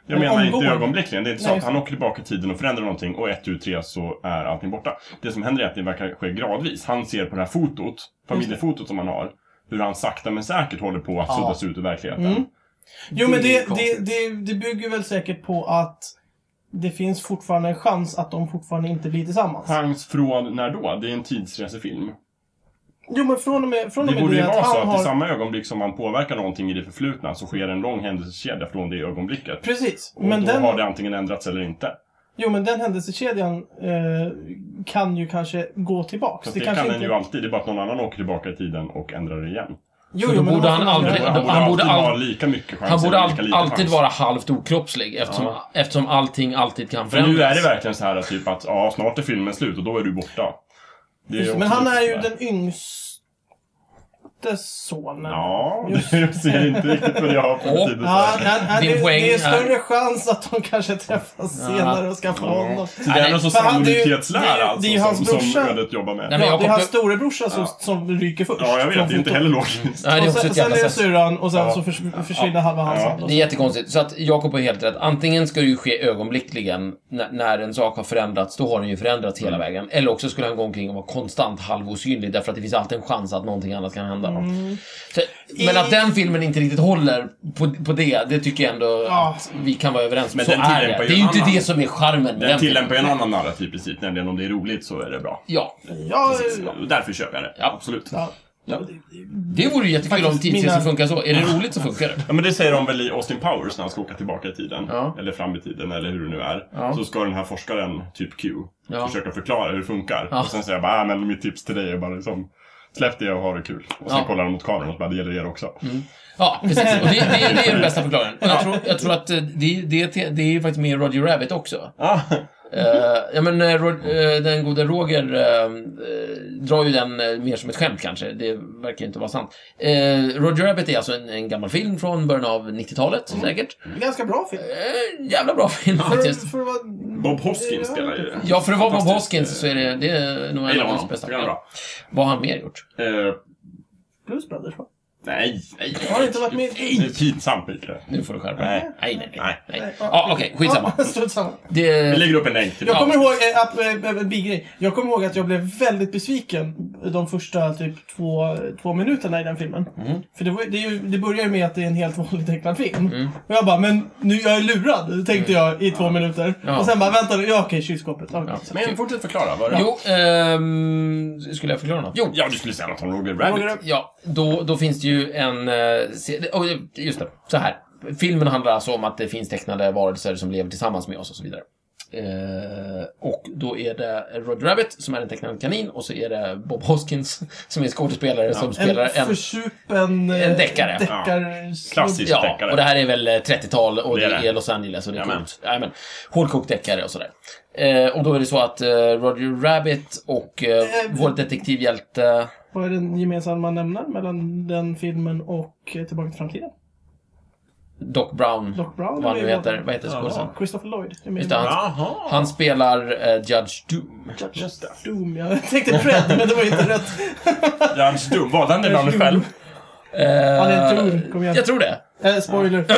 S1: Men
S3: menar inte
S1: omgående.
S3: ögonblickligen. Det är inte så
S1: Nej,
S3: att han åker tillbaka i tiden och förändrar någonting och ett, tu, tre så är allting borta. Det som händer är att det verkar ske gradvis. Han ser på det här fotot, familjefotot som han har, hur han sakta men säkert håller på att
S4: Ja.
S3: suddas ut ur verkligheten.
S1: Mm. Jo, men
S4: Det
S1: det,
S4: är
S1: det,
S4: konstigt.
S1: det, det bygger väl säkert på att det finns fortfarande en chans att de fortfarande inte blir tillsammans.
S3: Chans från när då? Det är en tidsresefilm.
S1: Jo, men från och med, från och
S3: Det
S1: med
S3: borde
S1: det
S3: ju vara
S1: att
S3: så att
S1: han
S3: i
S1: har...
S3: samma ögonblick som han påverkar någonting i det förflutna så sker en lång händelsekedja från det ögonblicket.
S1: Precis.
S3: Och men
S1: Men
S3: då har
S1: den,
S3: det antingen ändrats eller inte.
S1: jo, men den händelsekedjan eh, kan ju kanske gå tillbaks.
S3: Fast det, kan
S1: kanske
S3: den ju alltid, det är bara att någon annan åker tillbaka i tiden och ändrar det igen.
S1: Jo,
S2: För
S1: jo,
S2: då
S1: men
S2: borde
S1: då
S2: han
S1: måste man
S2: aldrig...
S1: göra
S3: Han borde,
S2: Han borde,
S3: alltid ha
S2: all,
S3: lika mycket chans.
S2: han borde
S3: eller
S2: all,
S3: lika lite
S2: alltid
S3: chans.
S2: vara halvt okroppslig eftersom, eftersom allting alltid kan
S3: För
S2: förändras.
S3: nu är det verkligen så här typ att ja, snart är filmen slut och då är du borta. Det är
S1: Just,
S3: också
S1: men han
S3: lite
S1: är ju
S3: sådär.
S1: den yngste sonen.
S3: Ja,
S1: Just.
S3: du ser inte riktigt vad jag har på
S2: Åh.
S3: tiden.
S1: Ja, nej, nej,
S2: Din
S1: det,
S2: poäng
S1: det är
S2: här.
S1: större chans att de kanske träffas senare och skaffar honom.
S3: Så det är någon sorts
S1: För han- det är ju- det är
S3: sannolikhetslära
S1: ju-
S3: alltså,
S1: det är ju hans
S3: som, som
S1: brorsa.
S3: ödet jobbar
S2: Nej,
S3: med. Ja,
S2: men
S1: Ja,
S2: jag
S1: det är hans
S2: kopplar...
S1: storebrorsa som, som ryker först.
S3: jag
S1: från
S3: vet. Det är inte
S1: fotot.
S3: heller logiskt.
S2: Nej, det är
S1: Och
S2: också
S1: sen,
S2: ett
S1: sen är
S2: jävla
S1: det
S2: sätt.
S1: syrran och sen
S3: Ja.
S1: så förs, försvinner halva hans
S3: Ja.
S1: hand.
S2: Det är jättekonstigt. Så att Jakob har helt rätt. Antingen ska det ju ske ögonblickligen när, när en sak har förändrats, då har den ju förändrats
S3: Mm.
S2: hela vägen. Eller också skulle han gå omkring och vara konstant halvosynlig därför att det finns alltid en chans att någonting annat kan hända.
S1: Mm.
S2: Så, men att den filmen inte riktigt håller på, på det, det tycker jag ändå
S1: Ja.
S2: att vi kan vara överens om.
S3: Men
S2: Så
S3: den
S2: är
S3: tillämpar
S2: det.
S3: ju
S2: Det är ju
S3: en
S2: inte
S3: annan-
S2: det som är charmen med
S3: Den tillämpar ju
S2: filmen.
S3: en annan narrativ precis, nämligen om det är roligt så är det bra.
S2: Ja,
S1: Ja,
S3: Därför köper jag det.
S2: Ja.
S3: Absolut.
S1: ja.
S2: det vore ju jättekul om
S1: Faktiskt,
S2: tidsresor
S1: mina-
S2: funkar så. Är det roligt så funkar det.
S3: Ja, men det säger de väl i Austin Powers när han ska åka tillbaka i tiden.
S2: Ja.
S3: Eller fram i tiden, eller hur det nu är.
S2: Ja.
S3: Så ska den här forskaren, typ Q,
S2: Ja.
S3: försöka förklara hur det funkar.
S2: Ja.
S3: Och sen säger jag bara, "Ah, men mitt tips till dig är bara liksom, släpp det och ha det kul. Och sen
S2: Ja. Mm.
S3: kollar han mot kameran och bara, det gäller er också.
S2: Ja, precis. Och det, det, det är den bästa förklaringen. Och jag tror, jag tror att eh, det, det, det är ju faktiskt med i Roger Rabbit också.
S3: Ah,
S2: Eh, ja, men eh, Rod, eh, den gode Roger eh, eh, drar ju den eh, mer som ett skämt kanske. Det verkar inte vara sant. Eh, Roger Rabbit är alltså en, en gammal film från början av 90-talet,
S3: Mm.
S2: säkert.
S1: Ganska bra film.
S2: Eh, jävla bra film
S1: För,
S2: faktiskt.
S1: för vad...
S3: Bob Hoskins spelar ju det.
S2: Ja, för att vara Bob
S3: Fantastisk,
S2: Hoskins så är det, det är nog en
S3: Jag gillar
S2: av hans
S3: honom.
S2: bästa.
S3: Tycker han är bra.
S2: Vad har han mer gjort?
S3: Eh,
S1: Blues Brothers va?
S3: nej, nej.
S1: Har det inte varit med-
S3: Nej, det är pinsamt Mikael.
S2: Nu får du skärpa dig.
S3: Nej.
S2: Nej, nej, nej.
S3: Nej.
S2: nej. Ja, okej, skitsamma.
S1: Ja, strunt samma.
S2: Det,
S3: Vi lägger upp en länk till
S1: Jag
S3: det.
S1: kommer ihåg, eh, app, eh, eh, en bigrej. Jag kommer ihåg att jag blev väldigt besviken de första typ två, två minuterna i den filmen.
S2: Mm.
S1: För det, var, det, är ju, det börjar ju med att det är en helt vanlig tecknad film. Och jag bara, men nu jag är lurad, tänkte jag i två minuter.
S2: Mm. Ja.
S1: Och sen bara, vänta nu, ja okej, kylskåpet. Ja.
S2: Ja.
S3: Men fortsätt förklara. Vad är det?
S2: Jo, ehm, skulle jag förklara något? Jo,
S3: Ja, du skulle säga något om Roger Rabbit.
S2: Ja, då, då finns det ju en... eh, se- oh, Just det, så här. Filmen handlar alltså om att det finns tecknade varelser som lever tillsammans med oss och så vidare. Eh, och då är det Roger Rabbit som är en tecknad kanin och så är det Bob Hoskins som är skådespelare som spelar
S1: En
S2: en...
S1: försupen... eh,
S2: en deckare.
S1: deckar-
S3: Klassisk
S2: Ja,
S3: deckare.
S2: och det här är väl eh, 30-tal och det
S3: Det
S2: är,
S3: är det.
S2: Los Angeles och det är
S3: Jajamän.
S2: coolt. Jajamän. Hårdkokt deckare och sådär. Eh, och då är det så att eh, Roger Rabbit och eh, vår detektivhjälte...
S1: Vad är den gemensamma nämnaren mellan den filmen och eh, Tillbaka till framtiden?
S2: Doc Brown.
S1: Doc Brown,
S2: Vad han
S1: det
S2: nu
S1: är ju-
S2: heter. Vad heter skådisen?
S1: Christopher Lloyd. Jag menar-
S2: Just det, han,
S3: Jaha.
S2: han spelar eh, Judge Doom.
S3: Just det.
S1: Doom, jag tänkte Fred, men det var inte rätt.
S3: Jans Dum. Valde han det namnet själv?
S1: Han är en tur, kom igen.
S2: Jag tror det.
S1: Eh, spoiler.
S2: Det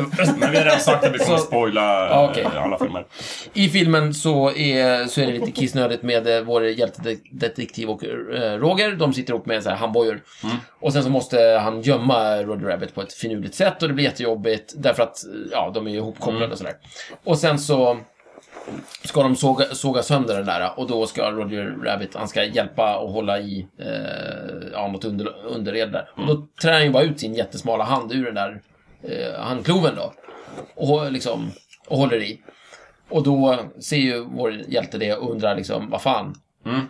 S2: var-
S3: Men vi har redan sagt att vi kommer
S2: Så-
S3: spoila
S2: Ja, okej.
S3: eh, alla filmer.
S2: I filmen så är, så är det lite kissnödigt med eh, vår hjältedetektiv och eh, Roger. De sitter ihop med så här handbojor. Och sen så måste han gömma Roger Rabbit på ett finurligt sätt och det blir jättejobbigt därför att eh, ja, de är ju ihopkopplade och sådär. Och sen så ska de såga, såga sönder den där och då ska Roger Rabbit, han ska hjälpa och hålla i eh, ja, något under, underred där. Och då trär han ju bara ut sin jättesmala hand ur den där eh, handkloven då. Och, liksom, och håller i. Och då ser ju vår hjälte det och undrar liksom, vad fan.
S3: Mm.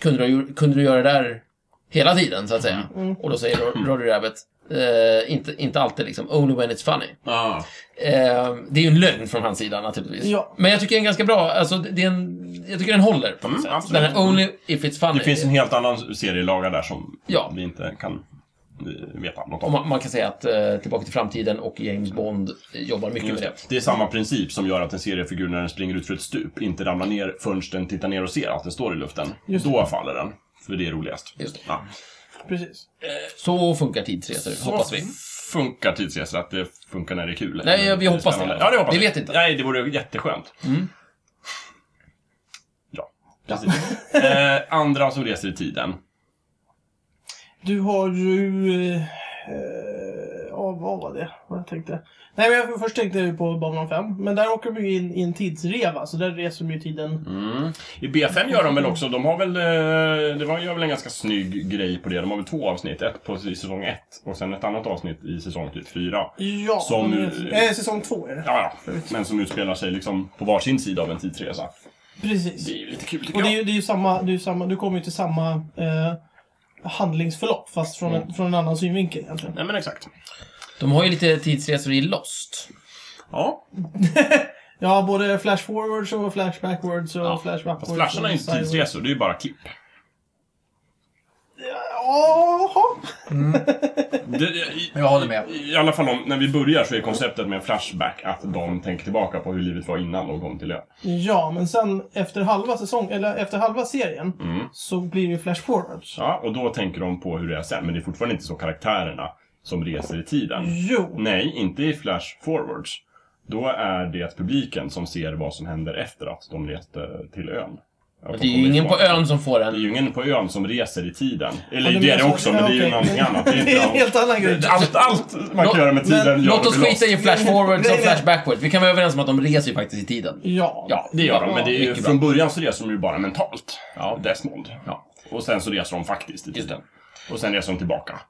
S2: Kunde, du, kunde du göra det där hela tiden, så att säga?
S3: Mm.
S2: Och då säger Ro- Roger Rabbit, eh, inte, inte alltid liksom, only when it's funny.
S3: Ja.
S2: Eh, det är ju en lögn från hans sida naturligtvis.
S1: Ja.
S2: Men jag tycker den är ganska bra, alltså det är en, jag tycker den håller på något
S3: Mm,
S2: sätt.
S3: absolut.
S2: Den här only if it's funny.
S3: Det finns en helt annan serielaga där som
S2: Ja.
S3: vi inte kan eh, veta något
S2: och
S3: om.
S2: man, man kan säga att eh, Tillbaka till framtiden och James Bond eh, jobbar mycket med det.
S3: Det är samma princip som gör att en seriefigur när den springer ut för ett stup inte ramlar ner förrän den tittar ner och ser att den står i luften. Då faller den. För det är roligast.
S2: Just det.
S3: Ja.
S1: Precis.
S2: Så funkar tidsresor, hoppas vi.
S3: funkar tidsresor, att det funkar när det är kul.
S2: Nej, ja, vi hoppas det.
S3: Spännande. Ja, det hoppas
S2: Vi vet inte. Mm.
S3: Nej, det vore jätteskönt. Ja, precis. eh, andra som reser i tiden.
S1: Du har ju... eh, eh, Ja, vad var det? Vad jag tänkte? Nej, men jag, först tänkte jag ju på Babylon 5. Men där åker de ju in i en tidsreva, så där reser de ju tiden.
S3: Mm. I B5 gör de väl också, de har väl, eh, det var gör väl en ganska snygg grej på det. De har väl två avsnitt, ett på, i säsong 1 och sen ett annat avsnitt i säsong typ 4.
S1: Ja,
S3: Som,
S1: de reser-
S3: eh,
S1: eh, säsong två är det.
S3: Ja, ja. Men som utspelar sig liksom på varsin sida av en tidsresa.
S1: Precis.
S3: Det är ju lite kul tycker
S1: Och det är
S3: jag.
S1: ju, det är ju samma, det är ju samma, du kommer ju till samma eh, handlingsförlopp fast från,
S3: Mm.
S1: en, från en annan synvinkel egentligen.
S3: Nej men exakt.
S2: De har ju lite tidsresor i Lost.
S3: Ja,
S1: Ja, både flash forwards och flash backwards och flash backwards.
S3: fast flasharna är
S1: och
S3: ju inte
S1: sideways.
S3: tidsresor, det är ju bara klipp.
S1: Jaha.
S3: Det, i,
S4: Jag håller med.
S3: I alla fall om, när vi börjar så är konceptet med en flashback att de tänker tillbaka på hur livet var innan de kom till ön.
S1: Ja, men sen efter halva säsong, eller efter halva serien
S3: Mm.
S1: så blir det flash forwards.
S3: Ja, och då tänker de på hur det är sen, men det är fortfarande inte så karaktärerna som reser i tiden.
S1: Jo.
S3: Nej, inte i flash forwards. Då är det publiken som ser vad som händer efter att de reste till ön. Att de
S2: Det är ju
S3: kommer
S2: ingen på
S3: ifrån.
S2: ön som får
S3: Det är
S2: den.
S3: ju ingen på ön som reser i tiden. Eller
S1: Ja,
S3: det är det
S1: menar-
S3: också, men det är ju
S1: okej.
S3: någonting annat. Det är
S1: Det är en
S3: inte
S1: helt annan grej.
S3: allt, allt man
S2: Låt-
S3: kan göra med tiden
S1: men
S3: gör
S2: Låt
S3: det
S2: oss
S3: med
S2: skita i flash forwards och flash backwards. Vi kan vara överens om att de reser ju faktiskt i tiden.
S1: Ja.
S2: Ja,
S3: Det gör de, men det är ju,
S2: mycket bra.
S3: från början så reser de ju bara mentalt. Ja. Desmond. Och sen så reser de faktiskt i tiden. Och sen reser de tillbaka.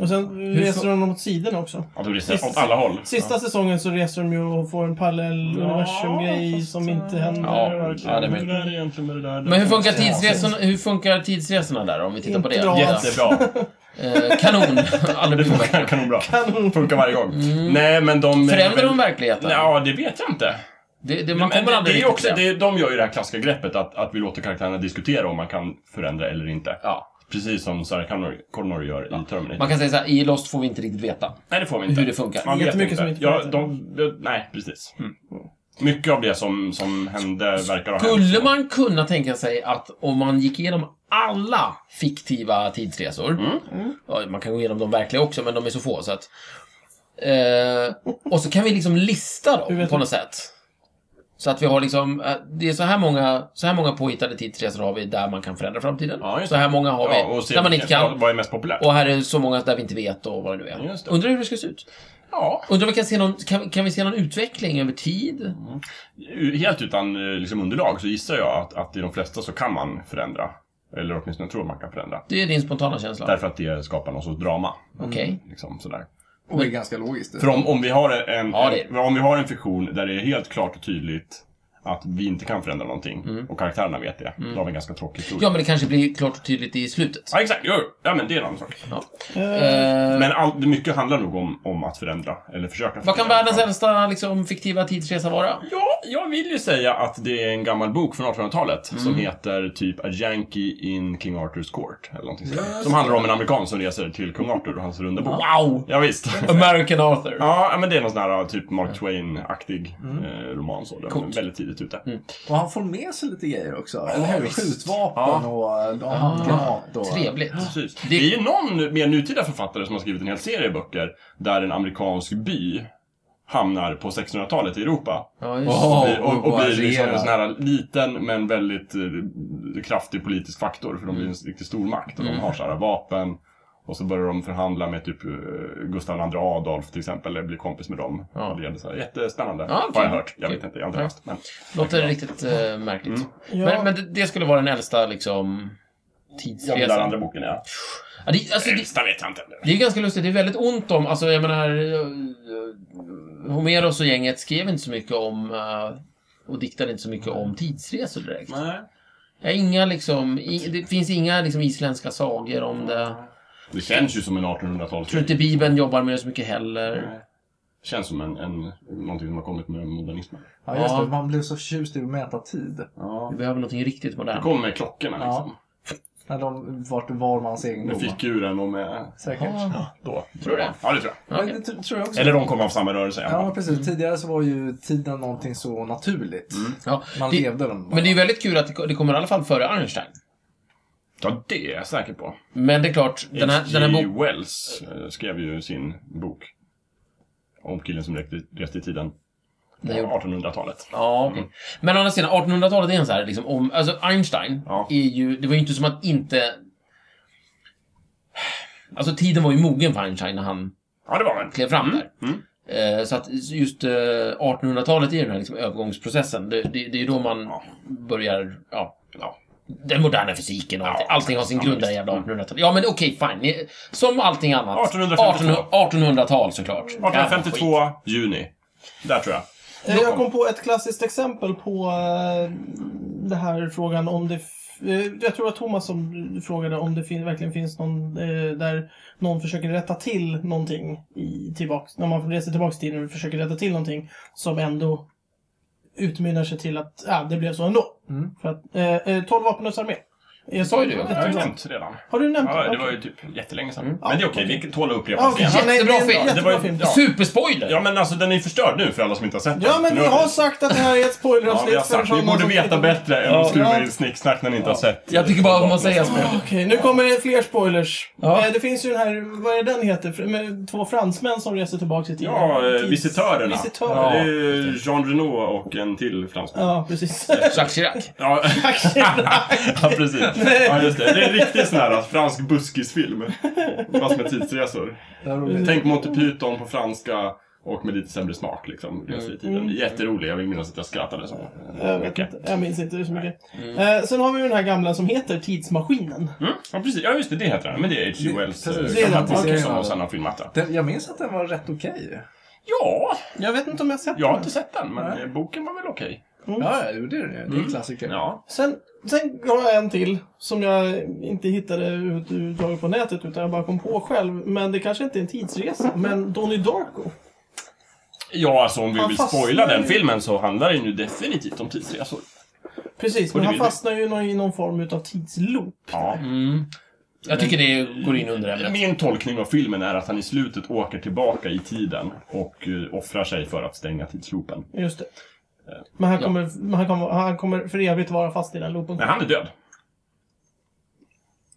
S1: Och sen reser de åt sidorna också.
S3: Ja, de reser
S1: Sist-
S3: åt alla håll.
S1: Sista säsongen så reser de ju och får en parallell universum-grej som inte händer.
S2: Ja, ja, det är
S3: Hur är det egentligen med det där?
S2: Men hur funkar, tidsresorna, hur funkar tidsresorna där om vi tittar på det?
S1: Inte bra.
S2: Jätte-
S3: Jättebra.
S2: Eh, kanon! Aldrig
S3: Det
S2: blivit
S3: funkar
S2: bättre.
S3: kanonbra. Funkar varje gång. Nej, men de...
S2: Mm. Förändrar de verkligheten?
S3: Ja, det vet jag inte.
S2: Det, det, man
S3: Men
S2: kommer
S3: det,
S2: aldrig
S3: det är
S2: riktigt
S3: också,
S2: till
S3: det, är- de gör ju det här klassiska greppet att, att vi låter karaktärerna diskutera om man kan förändra eller inte.
S2: Ja.
S3: Precis som Sarah Connor, Connor gör i Terminator.
S2: Man kan säga så här, i Lost får vi inte riktigt veta.
S3: Nej, det får vi inte.
S2: hur det funkar.
S3: Man vet
S1: Jättemycket
S3: inte.
S1: som inte
S3: ja,
S1: funkar.
S3: de, de, Nej, precis. Mm. Mycket av det som, som hände verkar ha
S2: Skulle
S3: hänt.
S2: man kunna tänka sig att om man gick igenom alla fiktiva tidsresor,
S3: Mm.
S2: ja, man kan gå igenom de verkliga också, men de är så få så att... Eh, och så kan vi liksom lista
S1: Hur
S2: dem
S1: vet
S2: på
S1: du?
S2: något sätt. Så att vi har liksom, eh, det är så här många, så här många påhittade tidsresor har vi där man kan förändra framtiden.
S3: Ja, just
S2: så här många har vi
S3: Ja, och se
S2: där man
S3: vilken-
S2: inte kan.
S3: Vad, vad är mest populärt?
S2: Och här är så många där vi inte vet och vad det nu är.
S3: Just det.
S2: Undrar hur det ska se ut.
S3: Ja,
S2: Undrar om vi kan se någon, kan, kan vi se någon utveckling över tid?
S3: helt utan eh, liksom, underlag så gissar jag att, att i de flesta så kan man förändra. Eller åtminstone tror man kan förändra.
S2: Det är din spontana känsla.
S3: Därför att det skapar någon sorts drama.
S2: Okej.
S3: Liksom, sådär.
S4: Och det är ganska logiskt.
S3: För om, om, vi har en,
S2: Ja, det är
S3: en, om vi har en fiktion där det är helt klart och tydligt att vi inte kan förändra någonting och karaktärerna vet det, då har vi en ganska tråkig historia.
S2: Mm. Ja, men det kanske blir klart och tydligt i slutet.
S3: Ja, exakt. Jo, jo. ja, men det är en annan sak.
S2: Eh,
S3: Men all, det mycket handlar nog om, om att förändra, eller försöka
S2: vad kan
S3: förändra.
S2: världens äldsta liksom, fiktiva tidsresa vara?
S3: Ja, jag vill ju säga att det är en gammal bok från 1800-talet
S2: Mm.
S3: som heter typ A Yankee in King Arthur's Court, eller någonting sånt. Som handlar om en amerikan som reser till kung Arthur och hans runda bord.
S2: Wow!
S3: Ja, visst.
S2: American Arthur.
S3: Ja, men det är någon sån här typ Mark Twain-aktig eh, roman så.
S2: Mm.
S3: Den
S2: Coolt. Mm.
S3: är väldigt tidigt ute.
S4: Och han får med sig lite grejer också. Eller hur?
S3: visst.
S4: Skjutvapen och de har granat och...
S2: Ah, Trevligt.
S3: Precis. Det... är ju någon mer nutida författare som har skrivit en hel serie böcker där en amerikansk by hamnar på 1600-talet i Europa.
S2: Ja,
S4: Åh,
S2: just
S3: och, blir- och, och
S4: vad
S3: blir liksom
S4: rejält.
S3: en sån här liten men väldigt eh, kraftig politisk faktor för de blir en riktig stormakt
S2: Mm.
S3: och de har så här vapen. Och så börjar de förhandla med typ eh, Gustav II Adolf till exempel, eller blir kompis med dem.
S2: Ja.
S3: Och Det är så här, jättespännande,
S2: Ja, okej.
S3: har jag hört. Jag vet
S2: Okej.
S3: inte, jag har inte
S2: Ja.
S3: läst. Men...
S2: Låter riktigt eh, märkligt.
S1: Ja.
S2: Men, men det, det skulle vara den äldsta liksom,
S3: Ja, den där andra
S2: tidsresan.
S3: boken ja.
S2: Ja, det, alltså, det,
S3: Äldsta vet jag inte.
S2: det är ganska lustigt. Det är väldigt ont om, alltså jag menar... eh, Homeros och gänget skrev inte så mycket om... eh, och diktade inte så mycket om tidsresor direkt.
S3: Nej.
S2: Ja, inga liksom, i, det finns inga liksom isländska sagor om det.
S3: Det känns ju som en 1800
S2: Jag tror
S3: talskrig
S2: inte Bibeln jobbar med det så mycket heller.
S3: Känns som en, en, någonting som har kommit med modernismen.
S4: Ja, just
S2: Ja.
S4: det. Man blev så förtjust i att mäta tid.
S2: Vi behöver någonting riktigt
S3: Det
S2: modernt.
S3: kom med klockorna liksom.
S4: När de vart var mans egendom.
S3: Med figuren och med...
S4: Säkert.
S3: Då. Tror du det? Ja, det tror jag.
S4: Men det tr- tror jag också.
S3: Eller de kom av samma rörelse.
S4: Ja, men precis. Tidigare så var ju tiden någonting så naturligt.
S2: Ja,
S4: Man
S2: det,
S4: levde den bara.
S2: men det är ju väldigt kul att det, det kommer i alla fall före Einstein.
S3: Ja, det är jag säker på.
S2: Men det är klart, den här, den här
S3: H.G.
S2: boken...
S3: Wells eh, skrev ju sin bok. Om killen som reste- reste i tiden. På
S2: gjorde-
S3: 1800-talet.
S2: Ja, okej. Mm. Men å andra sidan, 1800-talet är en så här, liksom, om, alltså Einstein
S3: Ja.
S2: är ju, det var ju inte som att inte... Alltså tiden var ju mogen för Einstein när han
S3: Ja, det var den. Mm.
S2: klev fram där. Eh, Så att just eh, 1800-talet är ju den här liksom övergångsprocessen. Det, det, det är då man
S3: Ja.
S2: börjar, ja,
S3: Ja.
S2: den moderna fysiken och allting.
S3: Ja,
S2: allting har sin
S3: ja,
S2: grund där i jävla 1800-talet. Ja, men okej, fine. Ni- Som allting annat.
S3: 1852.
S2: 1800 tal såklart.
S3: 1852,
S2: Jävla skit.
S3: juni. Där tror jag.
S1: Eh, Jag kom på ett klassiskt exempel på eh, det här frågan om det f- eh, jag tror att Thomas som frågade om det fin- verkligen finns någon eh, där någon försöker rätta till någonting i, tillbaks, när man reser tillbaka i tiden och försöker rätta till någonting som ändå utmynnar sig till att ah, det blev så ändå.
S4: Mm.
S1: För att, eh, eh, 12 vapenlösa armé. Jag
S2: sa ju det, jag
S3: Det har jag nämnt redan.
S1: Har du nämnt
S3: Ja, det
S1: Okej.
S3: var ju typ jättelänge sedan.
S2: Mm.
S3: Men det är okej, vi tål att upprepa
S1: Ja,
S3: oss
S1: okej.
S3: igen.
S1: Nej, det är en
S2: Jättebra film.
S1: jättebra
S3: Det var ju-
S1: film.
S3: ja.
S2: Superspoiler!
S3: Ja men alltså den är ju förstörd nu för alla som inte har sett den.
S1: Ja, men
S3: Nu
S1: vi
S3: har
S1: har sagt att det här är ett
S3: Ja, vi
S1: spoileravsnick.
S3: har
S1: för
S3: sagt, ni
S1: sådana
S3: borde
S1: som-
S3: veta bättre än att skruva in snicksnack när ni inte har sett. eh,
S2: Jag tycker bara om att säga spoiler.
S1: Okej, nu kommer det fler spoilers.
S2: Ja.
S1: Eh, Det finns ju den här, vad är den heter? Fr- Med två fransmän som reser tillbaka i tiden.
S3: Ja, eh,
S1: Tids-
S3: Visitörerna.
S1: Visitörerna.
S3: Ja,
S1: Ja,
S3: det är ju Jean Renault och en till fransman.
S1: precis.
S2: Jacques Chirac.
S3: Ja, ja precis. Ja, just det. Det är en riktig sån här alltså, fransk buskisfilm. Fast med tidsresor. Tänk Monty Python på franska och med lite sämre smak liksom. Resor i tiden. Jätterolig. Jag vill minnas att jag skrattade så.
S1: jag, vet
S3: Okej.
S1: inte, jag minns inte så mycket. Eh, sen har vi ju den här gamla som heter Tidsmaskinen.
S3: Mm. Ja, precis. Ja, just det. Det heter den. Men det är H.G. Wells eh,
S4: Precis.
S1: Det är den.
S3: dramatik
S4: Okej.
S3: som och sen har filmat den.
S4: Den, jag minns att den var rätt okej.
S3: Ja,
S1: Jag vet inte om jag har sett
S3: jag har
S1: den.
S3: inte sett den. Men
S4: Nej.
S3: eh, boken var väl okej.
S4: Ja, ja, jo, det är det. Det är en klassiker.
S3: Ja.
S1: Sen, sen har jag en till som jag inte hittade överhuvudtaget på nätet utan jag bara kom på själv. Men det kanske inte är en tidsresa. Men Donnie Darko.
S3: Ja, alltså om vi
S1: Han
S3: vill
S1: fastnar
S3: spoila den
S1: ju-
S3: filmen så handlar den ju definitivt om tidsresor.
S1: Precis,
S3: Och
S1: men
S3: det
S1: han
S3: vill vi.
S1: fastnar ju i någon- i någon form utav tidsloop.
S3: Ja.
S2: Mm. Jag tycker det går in under ämnet.
S3: Min tolkning av filmen är att han i slutet åker tillbaka i tiden och eh, offrar sig för att stänga tidsloopen.
S1: Just det.
S3: Eh,
S1: Men han
S2: ja.
S1: kommer, men han kommer, han kommer för evigt vara fast i den loopen.
S3: Nej, han är död.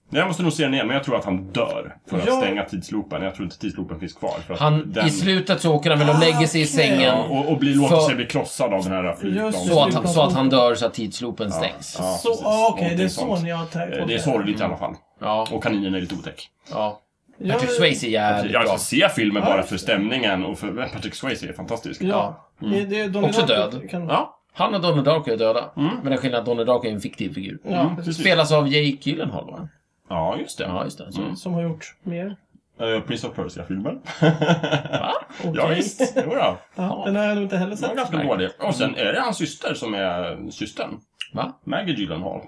S3: Nej, Jag måste nog se den igen, men jag tror att han dör för att
S1: Ja.
S3: stänga tidsloopen. Jag tror inte tidsloopen finns kvar. För att
S2: Han,
S3: den,
S2: I slutet så åker han väl och lägger sig i
S1: Ah, okej.
S2: sängen.
S3: Ja, och, och blir, låter
S2: För-
S3: sig bli krossad av den här flygplanet.
S1: Just
S2: Så att, han- så att han dör så att tidslopen stängs.
S3: Ja,
S1: så,
S3: precis.
S1: ah, okej, det är
S3: Någonting
S1: så
S3: sånt.
S1: ni har tänkt.
S3: Eh, Det är sorgligt i alla fall.
S2: Ja.
S3: Och kaninen är lite otäck.
S2: ja.
S1: Ja,
S2: Patrick Swayze är jävligt
S3: Jag
S2: bra.
S3: ska se filmen bara
S1: just
S3: för stämningen och för Patrick Swayze är fantastisk.
S1: Ja. Det, det, är Donnie
S2: Också
S1: Darko
S2: död.
S1: Kan, ja.
S2: Ja. Han och Donnie Darko är döda. Men det är skillnad att Donnie Darko är en fiktiv figur.
S3: Mm, precis.
S2: Spelas av Jake Gyllenhaal va?
S3: Ja, just det.
S2: Ja, just det. Så.
S3: Mm.
S1: Som har gjort mer.
S3: Eh, Prince of Persia-filmen.
S1: Okej.
S3: Ja, visst. Jodå.
S1: Ja, den har jag nog inte heller
S3: Den var
S1: sett.
S3: ganska dålig. Och sen är det hans syster som är systern.
S2: Va?
S3: Maggie Gyllenhaal.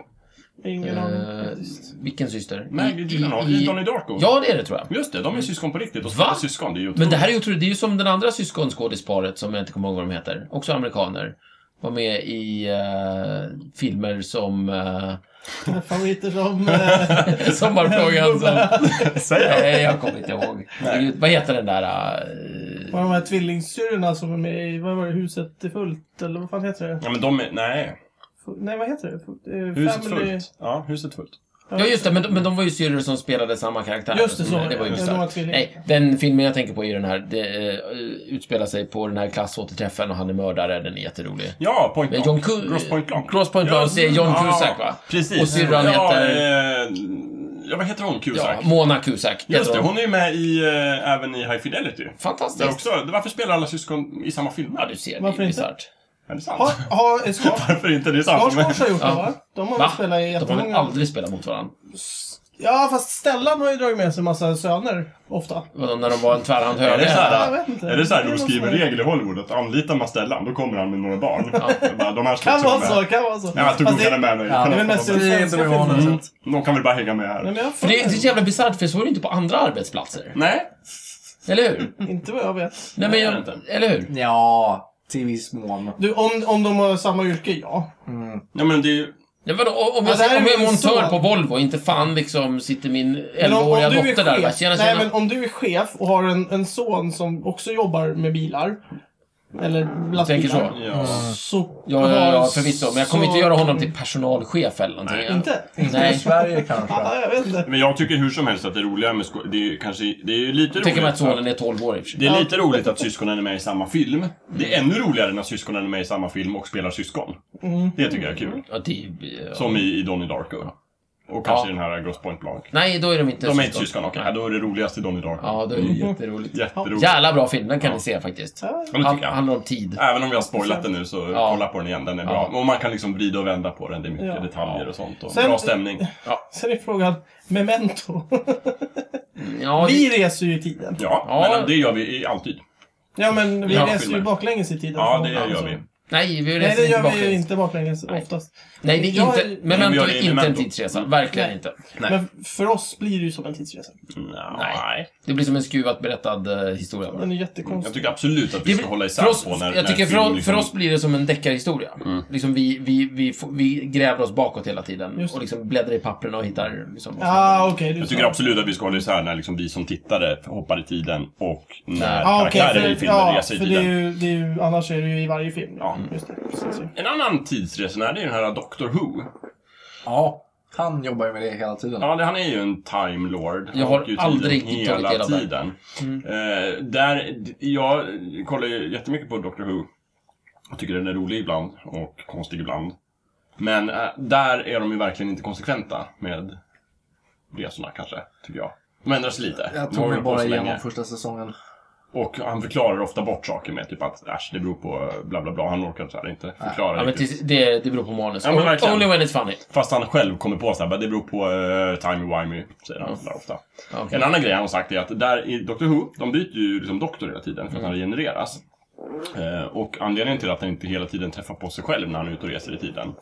S1: Ingen aning.
S2: Eh, vilken syster?
S3: Maggie Gyllenhaal i Donnie Darko.
S2: Ja, det är det tror jag.
S3: Just det, de är syskon på riktigt. Och
S2: Va?
S3: spelar syskon, det är ju
S2: Men
S3: otroligt.
S2: det här är ju otroligt. Det är ju som den andra syskonskådisparet som jag inte kommer ihåg vad de heter. Också amerikaner. Var med i eh, filmer som... eh,
S1: Favoriter som... eh,
S2: Sommarplågan som...
S3: Säg
S2: Nej, jag kommer inte ihåg. Gud, Vad heter den där... eh,
S1: var de här tvillingsyrrorna som var med i, vad var det, Huset är fullt? Eller vad fan heter det?
S3: Ja, men de är... Nej.
S1: Fu- Nej, vad heter det? Fu- eh,
S3: Huset
S1: Family-
S3: fullt. Ja, huset fullt.
S2: Ja, just det. Men de, men de var ju syrror som spelade samma karaktär.
S1: Just det, så.
S2: Nej, Det var ju
S1: Ja, de
S2: stört.
S1: var tvillingar.
S2: Nej, den filmen jag tänker på är ju den här. Det eh, utspelar sig på den här klassåterträffen och han är mördare. Den är jätterolig.
S3: Ja, Point
S2: Men
S3: Blanc.
S2: John Cu-
S3: Gross Point Blanc.
S2: Gross Point Blanc, det är John Cusack, va?
S3: Precis.
S2: Och syrran
S3: ja,
S2: heter-
S3: eh, Ja, vad heter hon? Cusack?
S2: Ja, Mona Cusack. heter
S3: Just det,
S2: hon.
S3: hon är ju med i, eh, även i High Fidelity. Där
S2: Fantastiskt.
S3: också, varför spelar alla syskon i samma film?
S2: Ja, du ser.
S1: Varför
S2: det är
S1: inte?
S2: bisarrt.
S3: Är det sant?
S1: Har, har, eh, Skars-
S3: Varför inte? Det är sant. men-
S1: Skarsgårds har gjort det,
S2: Ja.
S1: va? De har
S2: Va?
S1: väl spelat i
S2: De har väl
S1: jättemånga...
S2: aldrig spelat mot varandra?
S1: Ja, fast Stellan har ju dragit med sig massa söner, ofta.
S2: Vadå, När de var en tvärhand
S3: Är det så
S2: höger?
S1: Jag
S3: här,
S1: vet inte.
S3: är det så här när de
S1: Det är
S3: skriver
S1: någon
S3: regler i Hollywood att anlita Mastellan, då kommer han med några barn. Bara, de här ska
S1: Kan
S3: inte
S1: vara
S3: vara
S1: så,
S3: med.
S1: kan vara så.
S3: Nej, jag tog
S1: Fast
S3: nog gärna med mig.
S4: Ja,
S3: Kan
S1: det är väl
S3: de
S1: mest
S3: få
S1: i
S3: vara
S4: Det är
S1: svenska
S4: inte vad jag
S1: filmer.
S4: anar.
S3: med? De kan väl bara hänga med
S1: Nej,
S3: här.
S1: men jag
S2: För
S1: får
S2: det är det är så jävla bisarrt, för så är det inte på andra arbetsplatser.
S3: Nej,
S2: Eller hur?
S1: inte vad jag vet.
S2: Nej, men
S3: det är
S2: jag,
S3: det inte.
S2: eller hur?
S4: Ja, till viss mån.
S1: Du, om, om de har samma yrke, ja.
S3: ja, men det är ju...
S2: Ja, vadå, om
S1: Ja,
S2: jag,
S1: det här
S2: om
S1: Alltså, är
S2: jag är
S1: min son.
S2: montör på Volvo, inte fan liksom sitter min
S1: Men om, om,
S2: 11-åriga
S1: du är
S2: dotter där och bara,
S1: chef,
S2: tjena, tjena.
S1: nej, men om du är chef och har en, en son som också jobbar med bilar, eller
S2: jag tänker så.
S1: lastbilar,
S2: Ja,
S3: Ja.
S1: så...
S2: ja, ja, ja, förvisso. Men jag kommer
S1: Alltså, så-
S2: inte göra honom till personalchef eller någonting.
S3: Nej,
S1: Inte?
S4: I
S2: Nej.
S4: Sverige kanske.
S1: Ja, jag vet inte.
S3: Men jag tycker hur som helst att det roliga med sko- det är ju kanske... Det är ju lite
S2: Jag tänker mig att
S3: roligt.
S2: sonen är 12 år i och för sig.
S3: Det är lite roligt att syskonen är med i samma film. Det är ännu roligare när syskonen är med i samma film och spelar syskon.
S1: Mm.
S3: Det tycker jag är kul.
S2: Ja, det är, ja.
S3: Som i, i Donnie Darko. Och kanske
S2: Ja.
S3: i den här Gross Point Blanc.
S2: Nej, då är de inte
S3: De är inte syskon, okej. Ja, Då är det roligast i Donnie Darko. Mm.
S2: Ja, då är det
S1: Mm.
S2: jätteroligt.
S3: Jätteroligt.
S2: Jävla bra film, den kan ni se faktiskt.
S1: Ja,
S3: Ja, det
S2: Han,
S3: tycker jag.
S2: handlar om tid.
S3: Även om vi har spoilat den nu så
S2: Ja.
S3: kolla på den igen, den är
S2: Ja.
S3: bra. Och man kan liksom vrida och vända på den, det är mycket
S1: Ja.
S3: detaljer och sånt. Och
S1: Sen-
S3: bra stämning. Ja,
S1: Sen är frågan, memento.
S2: Ja, det-
S1: Vi reser ju i tiden.
S3: ja,
S2: Ja.
S3: men det gör vi i- alltid.
S1: Ja, men vi
S3: Ja,
S1: reser ju
S3: filmer.
S1: baklänges i tiden.
S3: Ja,
S1: från-
S2: Alltså.
S3: det gör vi.
S2: Nej, vi
S1: Nej,
S2: reser
S1: det
S2: inte
S1: gör vi ju
S2: baklänges.
S1: inte baklänges
S2: Nej.
S1: oftast.
S2: Nej, det är
S1: Jag-
S2: inte,
S3: gör
S2: Memento
S3: det i Mm.
S2: är inte en
S3: Memento.
S2: tidsresa. Verkligen
S1: Nej.
S2: inte.
S3: Nej.
S1: Men för oss blir det ju som en tidsresa.
S3: Nej.
S2: Det blir som en skruvat berättad eh, historia.
S1: Den är
S3: Jag
S1: jättekonstig.
S3: tycker absolut att vi ska hålla isär
S2: för oss,
S3: på när,
S2: jag
S3: när
S2: tycker för,
S3: film
S2: oss- för
S3: liksom- Mm.
S2: oss blir det som en deckarhistoria. Liksom vi, vi, vi, får- vi gräver oss bakåt hela tiden
S1: Just det.
S2: och liksom bläddrar i pappren och hittar... Liksom, vad som händer.
S1: Ja, ah, okej.
S3: Jag
S1: du
S3: tycker
S1: sa.
S3: absolut att vi ska hålla isär när liksom vi som tittare hoppar i tiden och när
S1: Ja, Ah, okej,
S3: karaktärer i
S1: för,
S3: filmen
S1: ja,
S3: reser i
S1: för det är,
S3: tiden. Mm.
S1: ju, det är ju, annars är det ju i varje film. Ja. Just det, precis.
S3: En annan tidsresenär, det är ju den här Doctor Who.
S4: Ja, han jobbar ju med det hela tiden.
S3: Ja, det, han är ju en time lord. Han
S2: Jag har
S3: åker ju
S2: aldrig
S3: tiden
S2: tagit del av det.
S3: tiden.
S2: Mm.
S3: Eh, där, d- jag kollar ju jättemycket på Doctor Who. Jag tycker den är rolig ibland och konstig ibland. Men eh, där är de ju verkligen inte konsekventa med resorna kanske, tycker jag. De ändrar sig lite.
S4: Jag
S3: De har
S4: tog mig
S3: hållit på
S4: bara
S3: så
S4: igenom
S3: länge.
S4: första säsongen.
S3: Och han förklarar ofta bort saker med typ att äsch, det beror på bla bla bla. Han orkar så här inte förklara
S2: Ja, men typ-
S3: riktigt.
S2: tills- det, det beror på manus.
S3: Ja, men verkligen.
S2: Only when it's funny.
S3: Fast han själv kommer på så här, "Bara, det beror på uh, timey-wimey, säger han där ofta.
S2: Okej.
S3: En annan grej han har sagt är att där i Doctor Who, de byter ju liksom doktor hela tiden för att han regenereras. Eh, och anledningen till att han inte hela tiden träffar på sig själv när han är ute och reser i tiden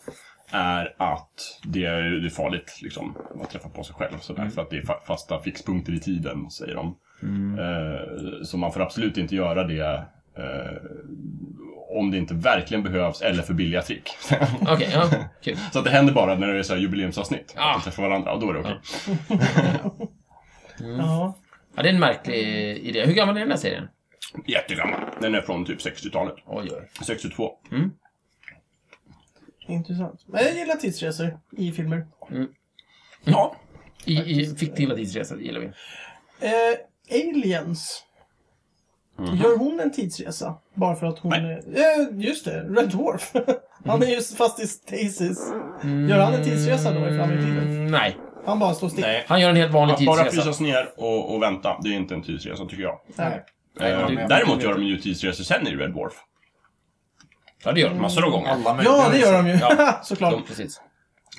S3: är att det är, det är farligt liksom, att träffa på sig själv. Så därför att det är fa- fasta fixpunkter i tiden, säger de. Eh, så man får absolut inte göra det eh, om det inte verkligen behövs eller för billiga trick.
S2: Okej, ja. Kul.
S3: så att det händer bara när det är så här jubileumsavsnitt.
S2: Ah.
S3: Att de träffar varandra och då är det okej.
S2: Mm.
S1: Ja.
S2: Ja, det är en märklig idé. Hur gammal är den här serien?
S3: Jättegammal. Den är från typ 60-talet.
S2: Oj, oj.
S3: 62.
S1: Intressant. Men jag gillar tidsresor i filmer.
S3: Ja.
S2: I, i fiktiva tidsresor gillar vi.
S1: Eh, Aliens. Gör hon en tidsresa? Bara för att hon
S3: Mhm. Nej.
S1: är... Eh, just det, Red Dwarf. han är ju fast i stasis. Gör han en tidsresa då i framtiden?
S2: Mm, nej.
S1: Han bara står still.
S3: Nej.
S2: Han gör en helt vanlig
S3: Att bara
S2: tidsresa.
S3: frysas ner och, och vänta, det är inte en tidsresa tycker jag.
S1: Nej.
S3: Eh,
S4: men jag
S3: Däremot
S4: vet
S3: gör de ju tidsresor sen i Red Dwarf.
S2: Ja, det gör han.
S3: Massor av gånger.
S4: Alla
S1: Ja, det gör de ju.
S3: Ja.
S1: Såklart.
S2: De, precis.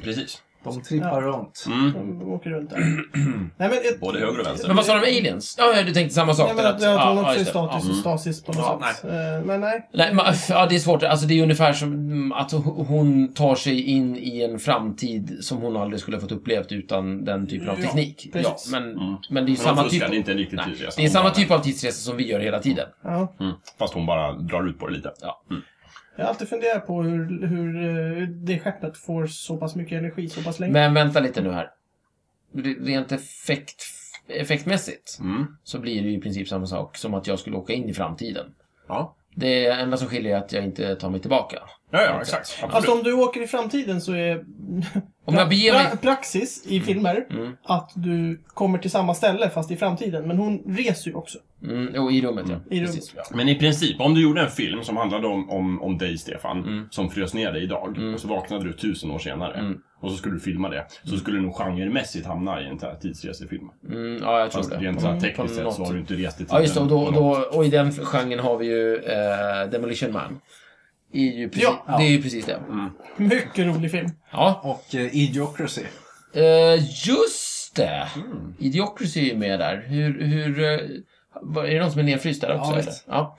S3: Precis.
S4: De trippar runt.
S1: De åker runt där. Nej, men ett...
S3: mm. Både höger och vänster.
S2: Men vad sa de om aliens? Ja, ja, du tänkte samma sak.
S1: Nej,
S2: där
S1: men att jag
S2: ja,
S1: har
S2: ja,
S1: också i
S2: just det. Ja.
S1: status och stasis på något
S3: Ja,
S1: sätt. Eh, men nej.
S2: Nej, men, öff, ja, det är svårt. Alltså, det är ungefär som mm, att ho- hon tar sig in i en framtid som hon aldrig skulle ha fått upplevt utan den typen av
S1: Ja,
S2: teknik. Ja,
S1: precis.
S2: men, men det är ju
S3: Mm. Men
S2: samma
S3: de
S2: typ,
S3: fuskar, det är inte en riktig
S2: nej,
S3: tidsresa.
S2: det är samma
S3: Hon bara-
S2: typ av tidsresa som vi gör hela tiden.
S1: Ja.
S3: Mm. Fast hon bara drar ut på det lite.
S2: Ja.
S1: Jag har alltid funderat på hur, hur eh, det skeppet får så pass mycket energi så pass länge.
S2: Men vänta lite nu här. Re- Rent effekt, effektmässigt
S3: Mm.
S2: så blir det ju i princip samma sak som att jag skulle åka in i framtiden.
S3: Ja.
S2: Det enda som skiljer är att jag inte tar mig tillbaka.
S3: Ja, ja, exakt.
S1: Alltså
S3: Absolut.
S1: om du åker i framtiden så är
S2: Om jag beger mig... Mm.
S1: pra- praxis i filmer att du kommer till samma ställe fast i framtiden. Men hon reser ju också.
S2: Mm, jo, i rummet, ja.
S1: I rummet.
S2: Precis.
S3: Men i princip, om du gjorde en film som handlade om, om, om dig Stefan,
S2: Mm.
S3: som frös ner dig idag, och så vaknade du tusen år senare, och så skulle du filma det, så skulle du nog genremässigt hamna i en sån här tidsresefilm.
S2: Mm, ja, jag Mm. tror
S3: Fast
S2: det.
S3: rent så här
S2: På
S3: tekniskt sett
S2: något-
S3: så har du inte rest i tiden.
S2: Ja, just det. Och, då,
S3: på något
S2: då, och i den genren har vi ju eh, Demolition Man. Är ju precis,
S1: Ja.
S2: Det är ju precis det.
S1: Mycket rolig film.
S2: Ja,
S4: Och eh, Idiocracy.
S2: eh, just det! Idiocracy är ju med där. Hur, hur, eh, vad- är det någon som är nedfryst där också?
S4: Ja,
S2: eller?
S4: visst.
S2: ja.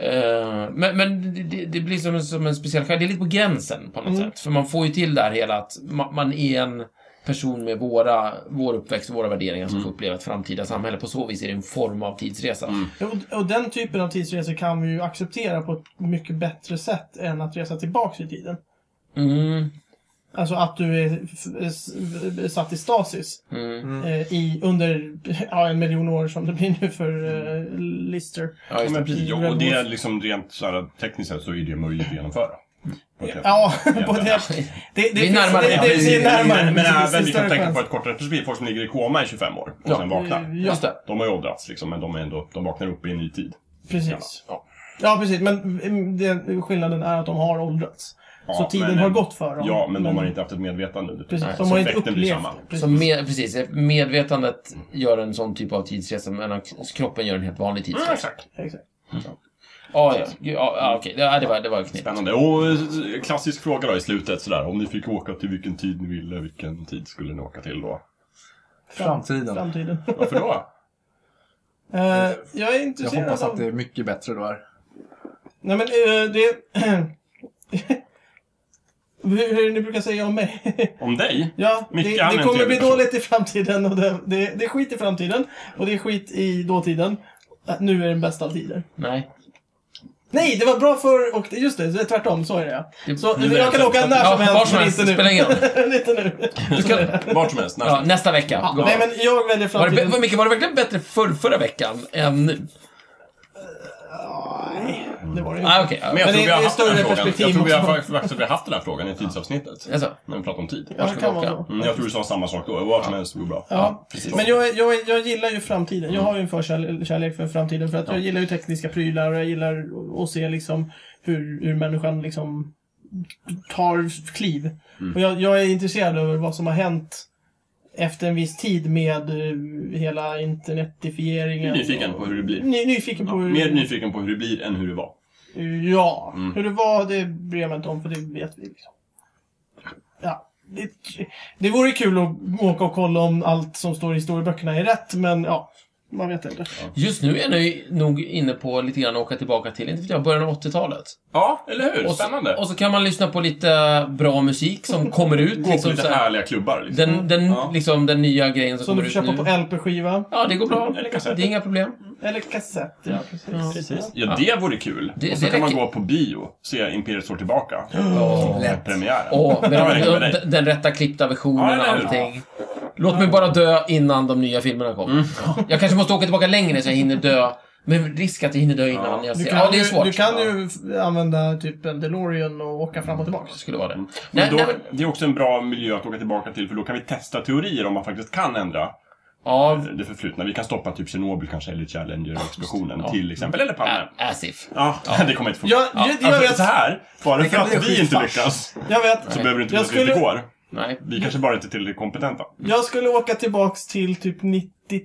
S2: Eh, men men det- det, det blir som en, som en speciell genre. Det är lite på gränsen på något sätt. För man får ju till där hela att man, man är en person med våra, vår uppväxt och våra värderingar som får uppleva ett framtida samhälle. På så vis är det en form av tidsresa.
S1: Och, och den typen av tidsresor kan vi ju acceptera på ett mycket bättre sätt än att resa tillbaks i tiden.
S2: Mm.
S1: Alltså att du är f- s- eh, satt i stasis
S2: Mm.
S3: Mm.
S1: eh, i, under ja, en miljon år som det blir nu för eh, Lister.
S2: Ja,
S3: Ja,
S2: just
S3: men
S2: det.
S3: precis.
S1: I
S3: Jo, och det
S1: Red
S3: är liksom rent så här, tekniskt sett så är det möjligt att genomföra. På ett-
S1: Ja, på det, det, det,
S2: Vi är närmare.
S1: Det, det, det, det är närmare.
S3: Men, men
S1: Precis,
S3: även,
S1: det
S3: vi
S1: är
S3: kan
S1: större
S3: tänka på
S1: chans. Eh,
S3: ett kortare perspektiv. Folk som ligger i koma i 25 år och
S2: Ja.
S3: sen vaknar.
S1: Ja,
S2: Just det.
S3: De har ju åldrats liksom, men de, är ändå, de vaknar upp i en ny tid.
S1: precis.
S3: Ja.
S1: Ja, precis. Men mm, det, skillnaden är att de har åldrats.
S3: Ja,
S1: så tiden
S3: men-
S1: har gått för dem.
S3: Ja, men de har inte haft ett medvetande under
S1: Precis,
S3: tiden.
S1: de
S3: Så
S1: har inte
S3: effekten blir
S1: upplevt
S3: samma.
S1: precis.
S2: Så med, precis, medvetandet gör en sån typ av tidsresa medan kroppen gör en helt vanlig
S3: Ja,
S2: tidsresa.
S3: exakt.
S1: Exakt.
S2: Ja, ja. Gud, ja, ja okej. Ja, det var, det var knepigt.
S3: Spännande. Och eh, klassisk fråga då i slutet sådär. Om ni fick åka till vilken tid ni ville, vilken tid skulle ni åka till då?
S4: Framtiden.
S1: Framtiden.
S3: Varför då?
S1: Eh, jag är
S4: Jag
S1: intresserad
S4: hoppas att
S1: av...
S4: det är mycket bättre då. här.
S1: Nej, men eh, det... Hur, hur ni brukar säga om mig.
S3: Om dig?
S1: ja, det,
S3: Micke, han är
S1: det
S3: en
S1: kommer bli
S3: trevlig person.
S1: dåligt i framtiden. Och det, det, det är skit i framtiden. Och det är skit i dåtiden. Äh, Nu är den bästa av tider.
S2: Nej.
S1: Nej, det var bra för och just det, det är tvärtom. Så är det ja.
S2: Det-
S1: Så
S2: nu är
S1: jag kan
S2: det
S1: åka
S2: tvärtom.
S1: när
S2: Ja,
S1: som
S2: var
S1: helst,
S2: som
S1: men
S2: helst,
S1: inte nu.
S2: spelar ingen
S1: inte nu.
S2: Du ska,
S3: Vart som helst,
S2: ja,
S3: nästan.
S2: nästa vecka. Gå.
S1: Nej, men jag väljer
S2: var det,
S1: framtiden.
S2: var, Micke, var det verkligen bättre förr, förra veckan än nu?
S1: Nej, det var det
S2: Ah,
S1: inte.
S2: okej.
S3: Men jag
S1: Men
S3: tror
S1: det-
S3: vi har
S1: det är
S3: haft den här
S1: större
S3: frågan. Jag
S1: perspektiv
S3: tror vi har
S1: också.
S3: fakt- faktiskt att vi har haft den här frågan i tidsavsnittet.
S2: Alltså.
S3: När vi pratade om tid.
S1: Ja, det kan vara
S2: åka?
S1: så.
S3: Mm, jag tror du sa samma sak då. Vad som helst går bra.
S1: Ja,
S3: precis.
S1: Men jag, jag, jag gillar ju framtiden. Jag har ju en förkärlek för framtiden. För att jag gillar ju tekniska prylar och jag gillar att se liksom hur, hur människan liksom tar kliv.
S3: Mm.
S1: Och jag, jag är intresserad över vad som har hänt efter en viss tid med eh, hela
S3: Jag
S1: internetifieringen.
S3: är nyfiken på hur det blir.
S1: Ny, nyfiken
S3: Ja,
S1: på hur...
S3: mer nyfiken på hur det blir än hur det var.
S1: Ja,
S2: Mm.
S1: hur det var det bryr jag mig inte om för det vet vi. Liksom. Ja, det, det vore kul att åka och kolla om allt som står i historieböckerna är rätt, men ja, man vet inte.
S2: Just nu är ni nog inne på lite grann att åka tillbaka till, inte vet jag, början av 80-talet.
S3: Ja, eller hur?
S2: Och
S3: Spännande.
S2: så, och så kan man lyssna på lite bra musik som kommer ut.
S3: Gå på
S2: Liksom, så
S3: lite
S2: här,
S3: härliga klubbar. Liksom.
S2: den, den,
S3: Ja.
S2: liksom, den nya grejen som,
S1: Som du
S2: kommer
S1: får
S2: ut
S1: köpa
S2: nu.
S1: på LP-skiva.
S2: Ja, det går bra.
S3: Eller
S2: Det
S3: kassett.
S2: är inga problem.
S1: Eller kassett, ja precis.
S2: Ja,
S3: Precis. Ja, det vore kul.
S2: Det-
S3: och så
S2: det
S3: kan man
S2: räcker.
S3: gå på bio, se Imperiet slår tillbaka.
S4: Lätt.
S3: Premiären.
S2: Åh, med
S3: Ja, det är
S2: de,
S3: med dig.
S2: den, den rätta klippta versionen och
S3: Ja, eller hur?
S2: allting. Låt mig bara dö innan de nya filmerna kommer.
S3: Mm.
S2: Jag kanske måste åka tillbaka längre så jag hinner dö. Men risk att jag hinner dö innan jag
S1: Du
S2: ser.
S1: kan,
S2: Ja, det är
S1: ju-
S2: svårt.
S1: du kan ju f- använda typ en DeLorean och åka fram och tillbaka.
S2: Det skulle vara det. Nej,
S3: Mm. Men då,
S2: nej, men,
S3: det är också en bra miljö att åka tillbaka till för då kan vi testa teorier om man faktiskt kan ändra
S2: ja,
S3: det förflutna. Vi kan stoppa typ Tjernobyl kanske, eller Challenger-explosionen till exempel, eller Palme.
S2: a- as if.
S3: Ja, det kommer inte funka.
S1: Jag, jag, jag,
S3: alltså,
S1: vet,
S3: så här, bara
S4: Det
S3: för
S4: kan bli
S3: att vi inte
S4: skitfars.
S3: lyckas
S2: Mm.
S1: jag vet.
S3: så behöver det inte
S1: Jag
S3: betyda att det inte
S1: skulle-
S3: går.
S2: Nej.
S3: Vi kanske bara inte är tillräckligt kompetenta.
S1: Jag skulle åka tillbaks till typ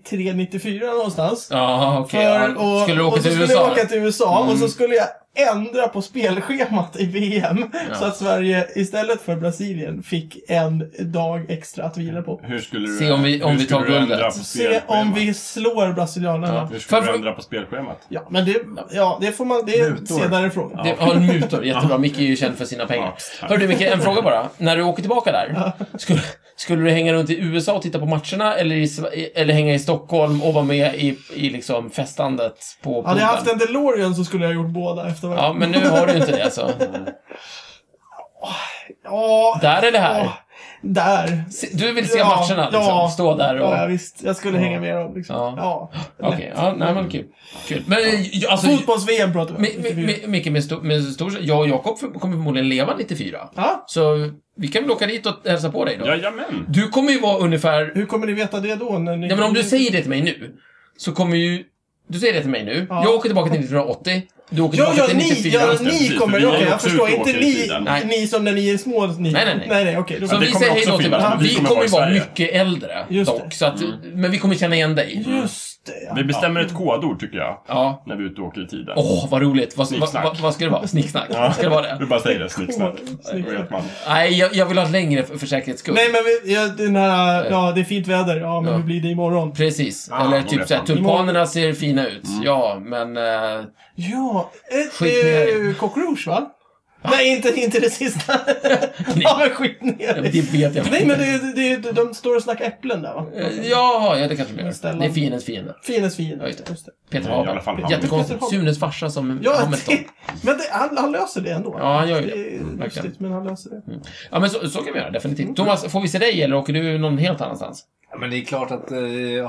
S1: 93-94 någonstans.
S2: Ja, okej.
S1: För,
S2: ja.
S1: och,
S2: Skulle du
S1: och
S2: åka
S1: så
S2: till
S1: skulle
S2: USA? Mm.
S1: jag åka till USA och så skulle jag ändra på spelschemat i VM. Så att Sverige istället för Brasilien fick en dag extra att vila på.
S3: Hur skulle du,
S2: Se om vi- om
S3: hur
S2: vi
S3: skulle
S2: tar
S3: du ändra
S2: guldet.
S3: på
S1: Se om
S3: spelschemat?
S1: vi slår brasilianerna.
S3: Hur
S1: Ja,
S3: skulle
S2: Får
S3: du
S2: jag-
S3: ändra på spelschemat?
S1: men det, ja, det får man, det är en
S4: Mutor.
S1: senare fråga.
S2: Det, ja, mutor. Jättebra. Micke är ju känd för sina pengar.
S3: Ja.
S2: Hör du Micke, en fråga bara. När du åker tillbaka där, skulle, skulle du hänga runt i USA och titta på matcherna eller, i, Sve- eller hänga i Stockholm och vara med i, i liksom festandet på
S1: Hade jag
S2: puben?
S1: haft en DeLorean så skulle jag ha gjort båda efter varandra.
S2: Ja, men nu har du inte det alltså.
S1: Ja,
S2: Där eller här?
S1: åh, där.
S2: Se- Du vill se
S1: Ja,
S2: matcherna liksom?
S1: ja.
S2: Stå där och...
S1: Ja, visst. Jag skulle hänga med dem. Liksom.
S2: Ja.
S1: Ja.
S2: Okej, ja, nej men kul. kul. Men ju- alltså...
S1: Fotbolls-VM pratar vi om.
S2: Mi- mi- mi- Micke, med stor, med stor, jag och Jakob för- kommer förmodligen leva 94.
S1: Ja.
S2: Så vi kan väl åka dit och hälsa på dig då.
S3: Jajamän!
S2: Du kommer ju vara ungefär
S1: Hur kommer ni veta det då? När ni
S2: Ja, men om du säger det till mig nu, så kommer ju... Du säger det till mig nu.
S1: Ja.
S2: Jag åker tillbaka till 1980. Du åker
S1: Ja,
S2: tillbaka
S1: ja,
S2: till
S1: ni,
S2: 94.
S1: ja,
S3: det,
S1: ni
S3: precis,
S1: kommer...
S3: för vi
S1: Okej,
S3: är ju
S1: jag
S3: också
S1: förstår.
S3: ute och
S1: Inte
S3: åker i
S1: ni,
S3: tiden.
S2: Nej.
S1: ni som när ni är små. Ni.
S2: Nej, nej, nej.
S1: nej, nej okej. då-
S2: Så
S3: det
S2: vi
S3: kommer
S2: säger hej
S3: också
S2: då till
S3: finnas,
S2: varandra.
S3: men
S2: Vi kommer ju vara
S3: i Sverige.
S2: mycket äldre
S1: Just det. Mm.
S2: dock. Så att, Men vi kommer känna igen dig.
S1: Just det, ja.
S3: Vi bestämmer ett kodord tycker jag,
S2: Ja.
S3: när vi är ute och åker i tiden.
S2: Åh, vad roligt. Vad, vad,
S3: Snicksnack.
S2: vad, vad ska det vara? Snicksnack? Ska det vara
S3: Du
S2: det?
S3: bara säger det, snicksnack.
S1: Snicksnack.
S3: Då vet man.
S2: Nej, jag, jag vill ha ett längre för, för säkerhets skull.
S1: Nej, men vi, ja, den här... Ja, det är fint väder. Ja, men
S2: Ja.
S1: hur blir det imorgon?
S2: Precis.
S3: Ah,
S2: Eller
S3: då
S2: typ
S3: vet
S2: såhär,
S3: man.
S2: tulpanerna ser fina ut.
S1: Mm.
S2: Ja, men... eh,
S1: Ja, ett,
S2: Skit ner.
S1: eh, cockroach va? Nej, inte, inte det sista. ja, men skit ner
S2: det vet jag
S1: Nej, men det, det, det, de står och snackar äpplen där va?
S2: Eh, Jaha, ja det kanske de gör.
S1: Ställan.
S2: Det är fiendens fiende.
S1: Fiendens
S2: Ja,
S1: fiende.
S2: just det.
S1: Just det.
S2: Peter
S3: I alla fall
S2: Haber.
S3: Hamlet.
S1: Peter
S2: Jättekonstigt.
S1: Haber.
S2: Sunes farsa som
S1: Ja,
S2: Hamilton.
S1: det, men det, han, han löser det ändå.
S2: Ja, han gör ju
S1: Det är
S2: det. Verkligen.
S1: lustigt, men han löser det.
S2: Ja, men så, så kan vi göra,
S3: Mm.
S2: definitivt. Thomas, får vi se dig eller åker du någon helt annanstans?
S4: Ja, men det är klart att eh,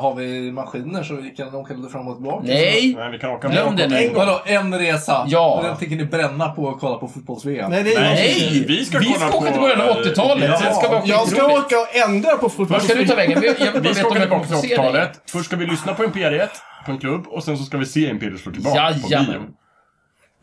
S4: har vi maskiner så kan de åka lite fram och tillbaka.
S2: Nej!
S3: Nej, vi kan åka
S2: Glöm
S3: bakåt.
S2: det nu.
S4: Vadå, en resa?
S2: Ja.
S4: Och Den tänker ni bränna på och kolla på fotbolls-VM?
S1: Nej, det är jag som-
S2: Nej!
S3: Vi ska
S2: vi
S3: kolla
S2: ska åka
S3: på,
S2: till början av
S3: eh,
S2: 80-talet.
S3: ja.
S2: Det ska vara
S1: Jag ska
S2: skitroligt.
S1: åka och ändra på
S2: Vart ska du ta
S1: fotbollsfilmen.
S2: vägen? Vi- Jag vill bara
S3: Vi
S2: veta
S3: ska
S2: om
S3: åka
S2: jag kommer
S3: tillbaka
S2: att
S3: till
S2: få se dig.
S3: 80-talet. Först ska vi lyssna på Imperiet på en klubb och sen så ska vi se Imperiet slå tillbaka på
S2: Jajamän.
S3: bio.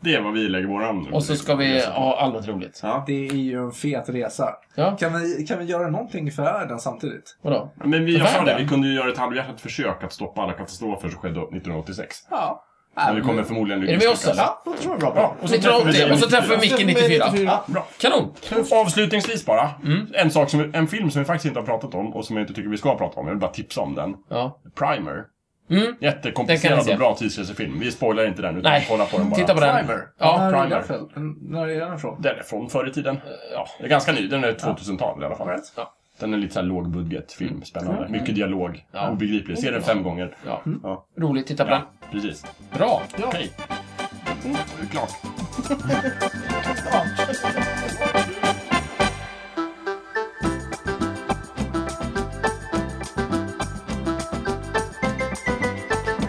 S3: Det är vad vi lägger våran...
S2: Och så ska vi ha allmänt roligt.
S3: Ja.
S4: Det är ju en fet resa.
S2: Ja,
S4: Kan vi, kan vi göra någonting för världen samtidigt?
S2: vadå?
S3: Men vi, jag sa det,
S2: Världen.
S3: vi kunde ju göra ett halvhjärtat försök att stoppa alla katastrofer som skedde 1986.
S4: Ja.
S3: Men vi kommer förmodligen
S2: Är du med oss eller?
S4: Ja, det tror jag är bra.
S3: Ja, och så träffar vi
S2: 1980
S3: dig
S2: och så träffar vi Micke 94.
S1: Ja.
S3: Bra.
S2: Kanon!
S3: Och Avslutningsvis bara.
S2: Mm.
S3: En, sak som, en film som vi faktiskt inte har pratat om och som jag inte tycker vi ska prata om. Jag vill bara tipsa om den.
S2: Ja.
S3: Primer.
S2: Mm. Den kan
S3: Jättekomplicerad
S2: jag se.
S3: och bra tidsresefilm. Vi spoilar inte den, utan
S2: Nej.
S3: kolla på den bara.
S2: Titta på den.
S4: Primer.
S2: Ja, Eh,
S4: när, är
S3: Primer.
S4: den från? när är den ifrån?
S3: Den är från förr i tiden. Ja, den är ganska ny. Den är 2000-tal i alla fall.
S4: Right.
S2: Ja.
S3: Den är lite såhär lågbudget film, spännande. Mycket dialog,
S2: Mm. Ja.
S3: obegriplig. Se den fem gånger.
S2: Ja.
S3: Ja,
S2: Roligt, titta på
S3: ja precis.
S2: den. Bra!
S1: Ja.
S3: Okej. Mm, klart.